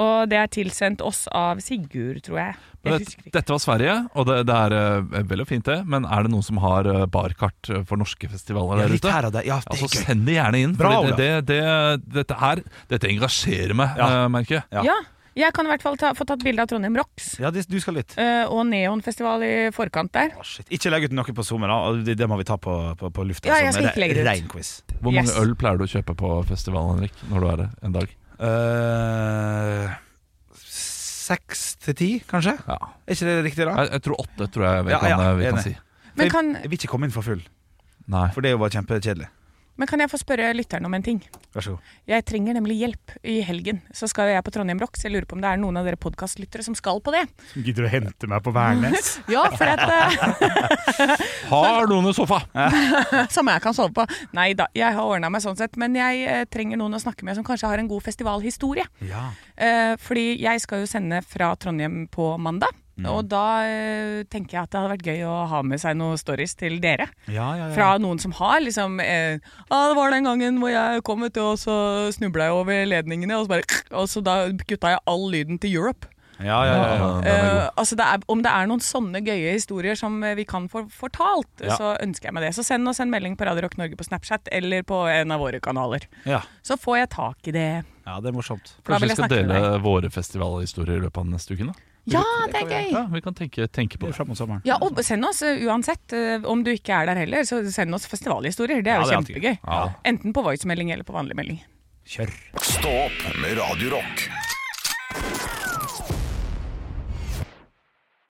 E: Og det er tilsendt oss av Sigurd, tror jeg.
D: Men
E: jeg
D: det,
E: husker ikke.
D: dette var Sverige, og det, det er eh, vel og fint det, men er det noen som har eh, barkart eh, for norske festivaler der ute?
C: og der. Ja,
D: Ja, så send det gjerne inn, for
C: Bra, Olav.
D: det, det, det, dette her Dette engasjerer meg,
C: Ja.
D: eh, merker jeg.
C: ja.
E: Ja. Jeg kan i hvert fall ta, få tatt bilde av Trondheim Rocks
C: Ja, det, du skal litt.
E: eh, og Neonfestival i forkant der.
C: Å, shit. Ikke legg ut noe på Zoomer, da. og Det, det må vi ta på, på, på lufta.
E: Ja, jeg
C: som
E: skal ikke legge det ut.
C: Rein quiz.
D: Hvor mange
E: Yes.
D: øl pleier du å kjøpe på festivalen, Henrik, når du er der en dag?
C: Eh, Seks til ti, kanskje?
D: Ja.
C: Er ikke det riktig, da?
D: Jeg, jeg tror åtte, tror jeg vi,
C: Ja, ja,
D: kan, eh, vi
C: enig.
D: kan si.
E: Men kan,
C: Jeg vil ikke komme inn for full,
D: Nei.
C: for det er jo bare kjempekjedelig.
E: men kan jeg få spørre lytteren om en ting?
C: Vær så god.
E: Jeg trenger nemlig hjelp i helgen. Så skal jeg på Trondheim Rocks. Jeg lurer på om det er noen av dere podkastlyttere som skal på det.
C: Gidder du å hente meg på Værnes?
E: Ja, for at eh,
D: Har noen en sofa?
E: Som jeg kan sove på. Nei da, jeg har ordna meg sånn sett. Men jeg eh, trenger noen å snakke med som kanskje har en god festivalhistorie.
C: Ja.
E: Eh, fordi jeg skal jo sende fra Trondheim på mandag.
C: Mm.
E: Og da eh, tenker jeg at det hadde vært gøy å ha med seg noen stories til dere.
C: Ja, ja, ja.
E: Fra noen som har liksom eh, Ja, det var den gangen hvor jeg kom ut, og så snubla jeg over ledningene, og så bare Og så da kutta jeg all lyden til Europe.
C: Ja, ja, ja, ja.
D: den er god.
E: Eh, altså det er, om det er noen sånne gøye historier som eh, vi kan få fortalt,
C: Ja.
E: så ønsker jeg meg det. Så send oss en melding på Radio Rock Norge på Snapchat eller på en av våre kanaler.
C: Ja,
E: Så får jeg tak i det.
C: ja det er morsomt.
E: Da
D: Kanskje
E: vil
D: vi
E: jeg
D: skal
E: snakke med
D: dele våre festivalhistorier i løpet av den neste uken? da?
E: Ja, det er gøy!
D: Ja, vi kan tenke, tenke på det.
C: Fram mot sommeren.
E: Ja, og send oss eh, uansett, eh, om du ikke er der heller, så send oss festivalhistorier. Det er
C: Ja,
E: jo
C: det er alltid
E: kjempegøy. Enten på voicemelding eller på vanlig melding.
C: Kjør.
B: Stå opp med Radio Rock.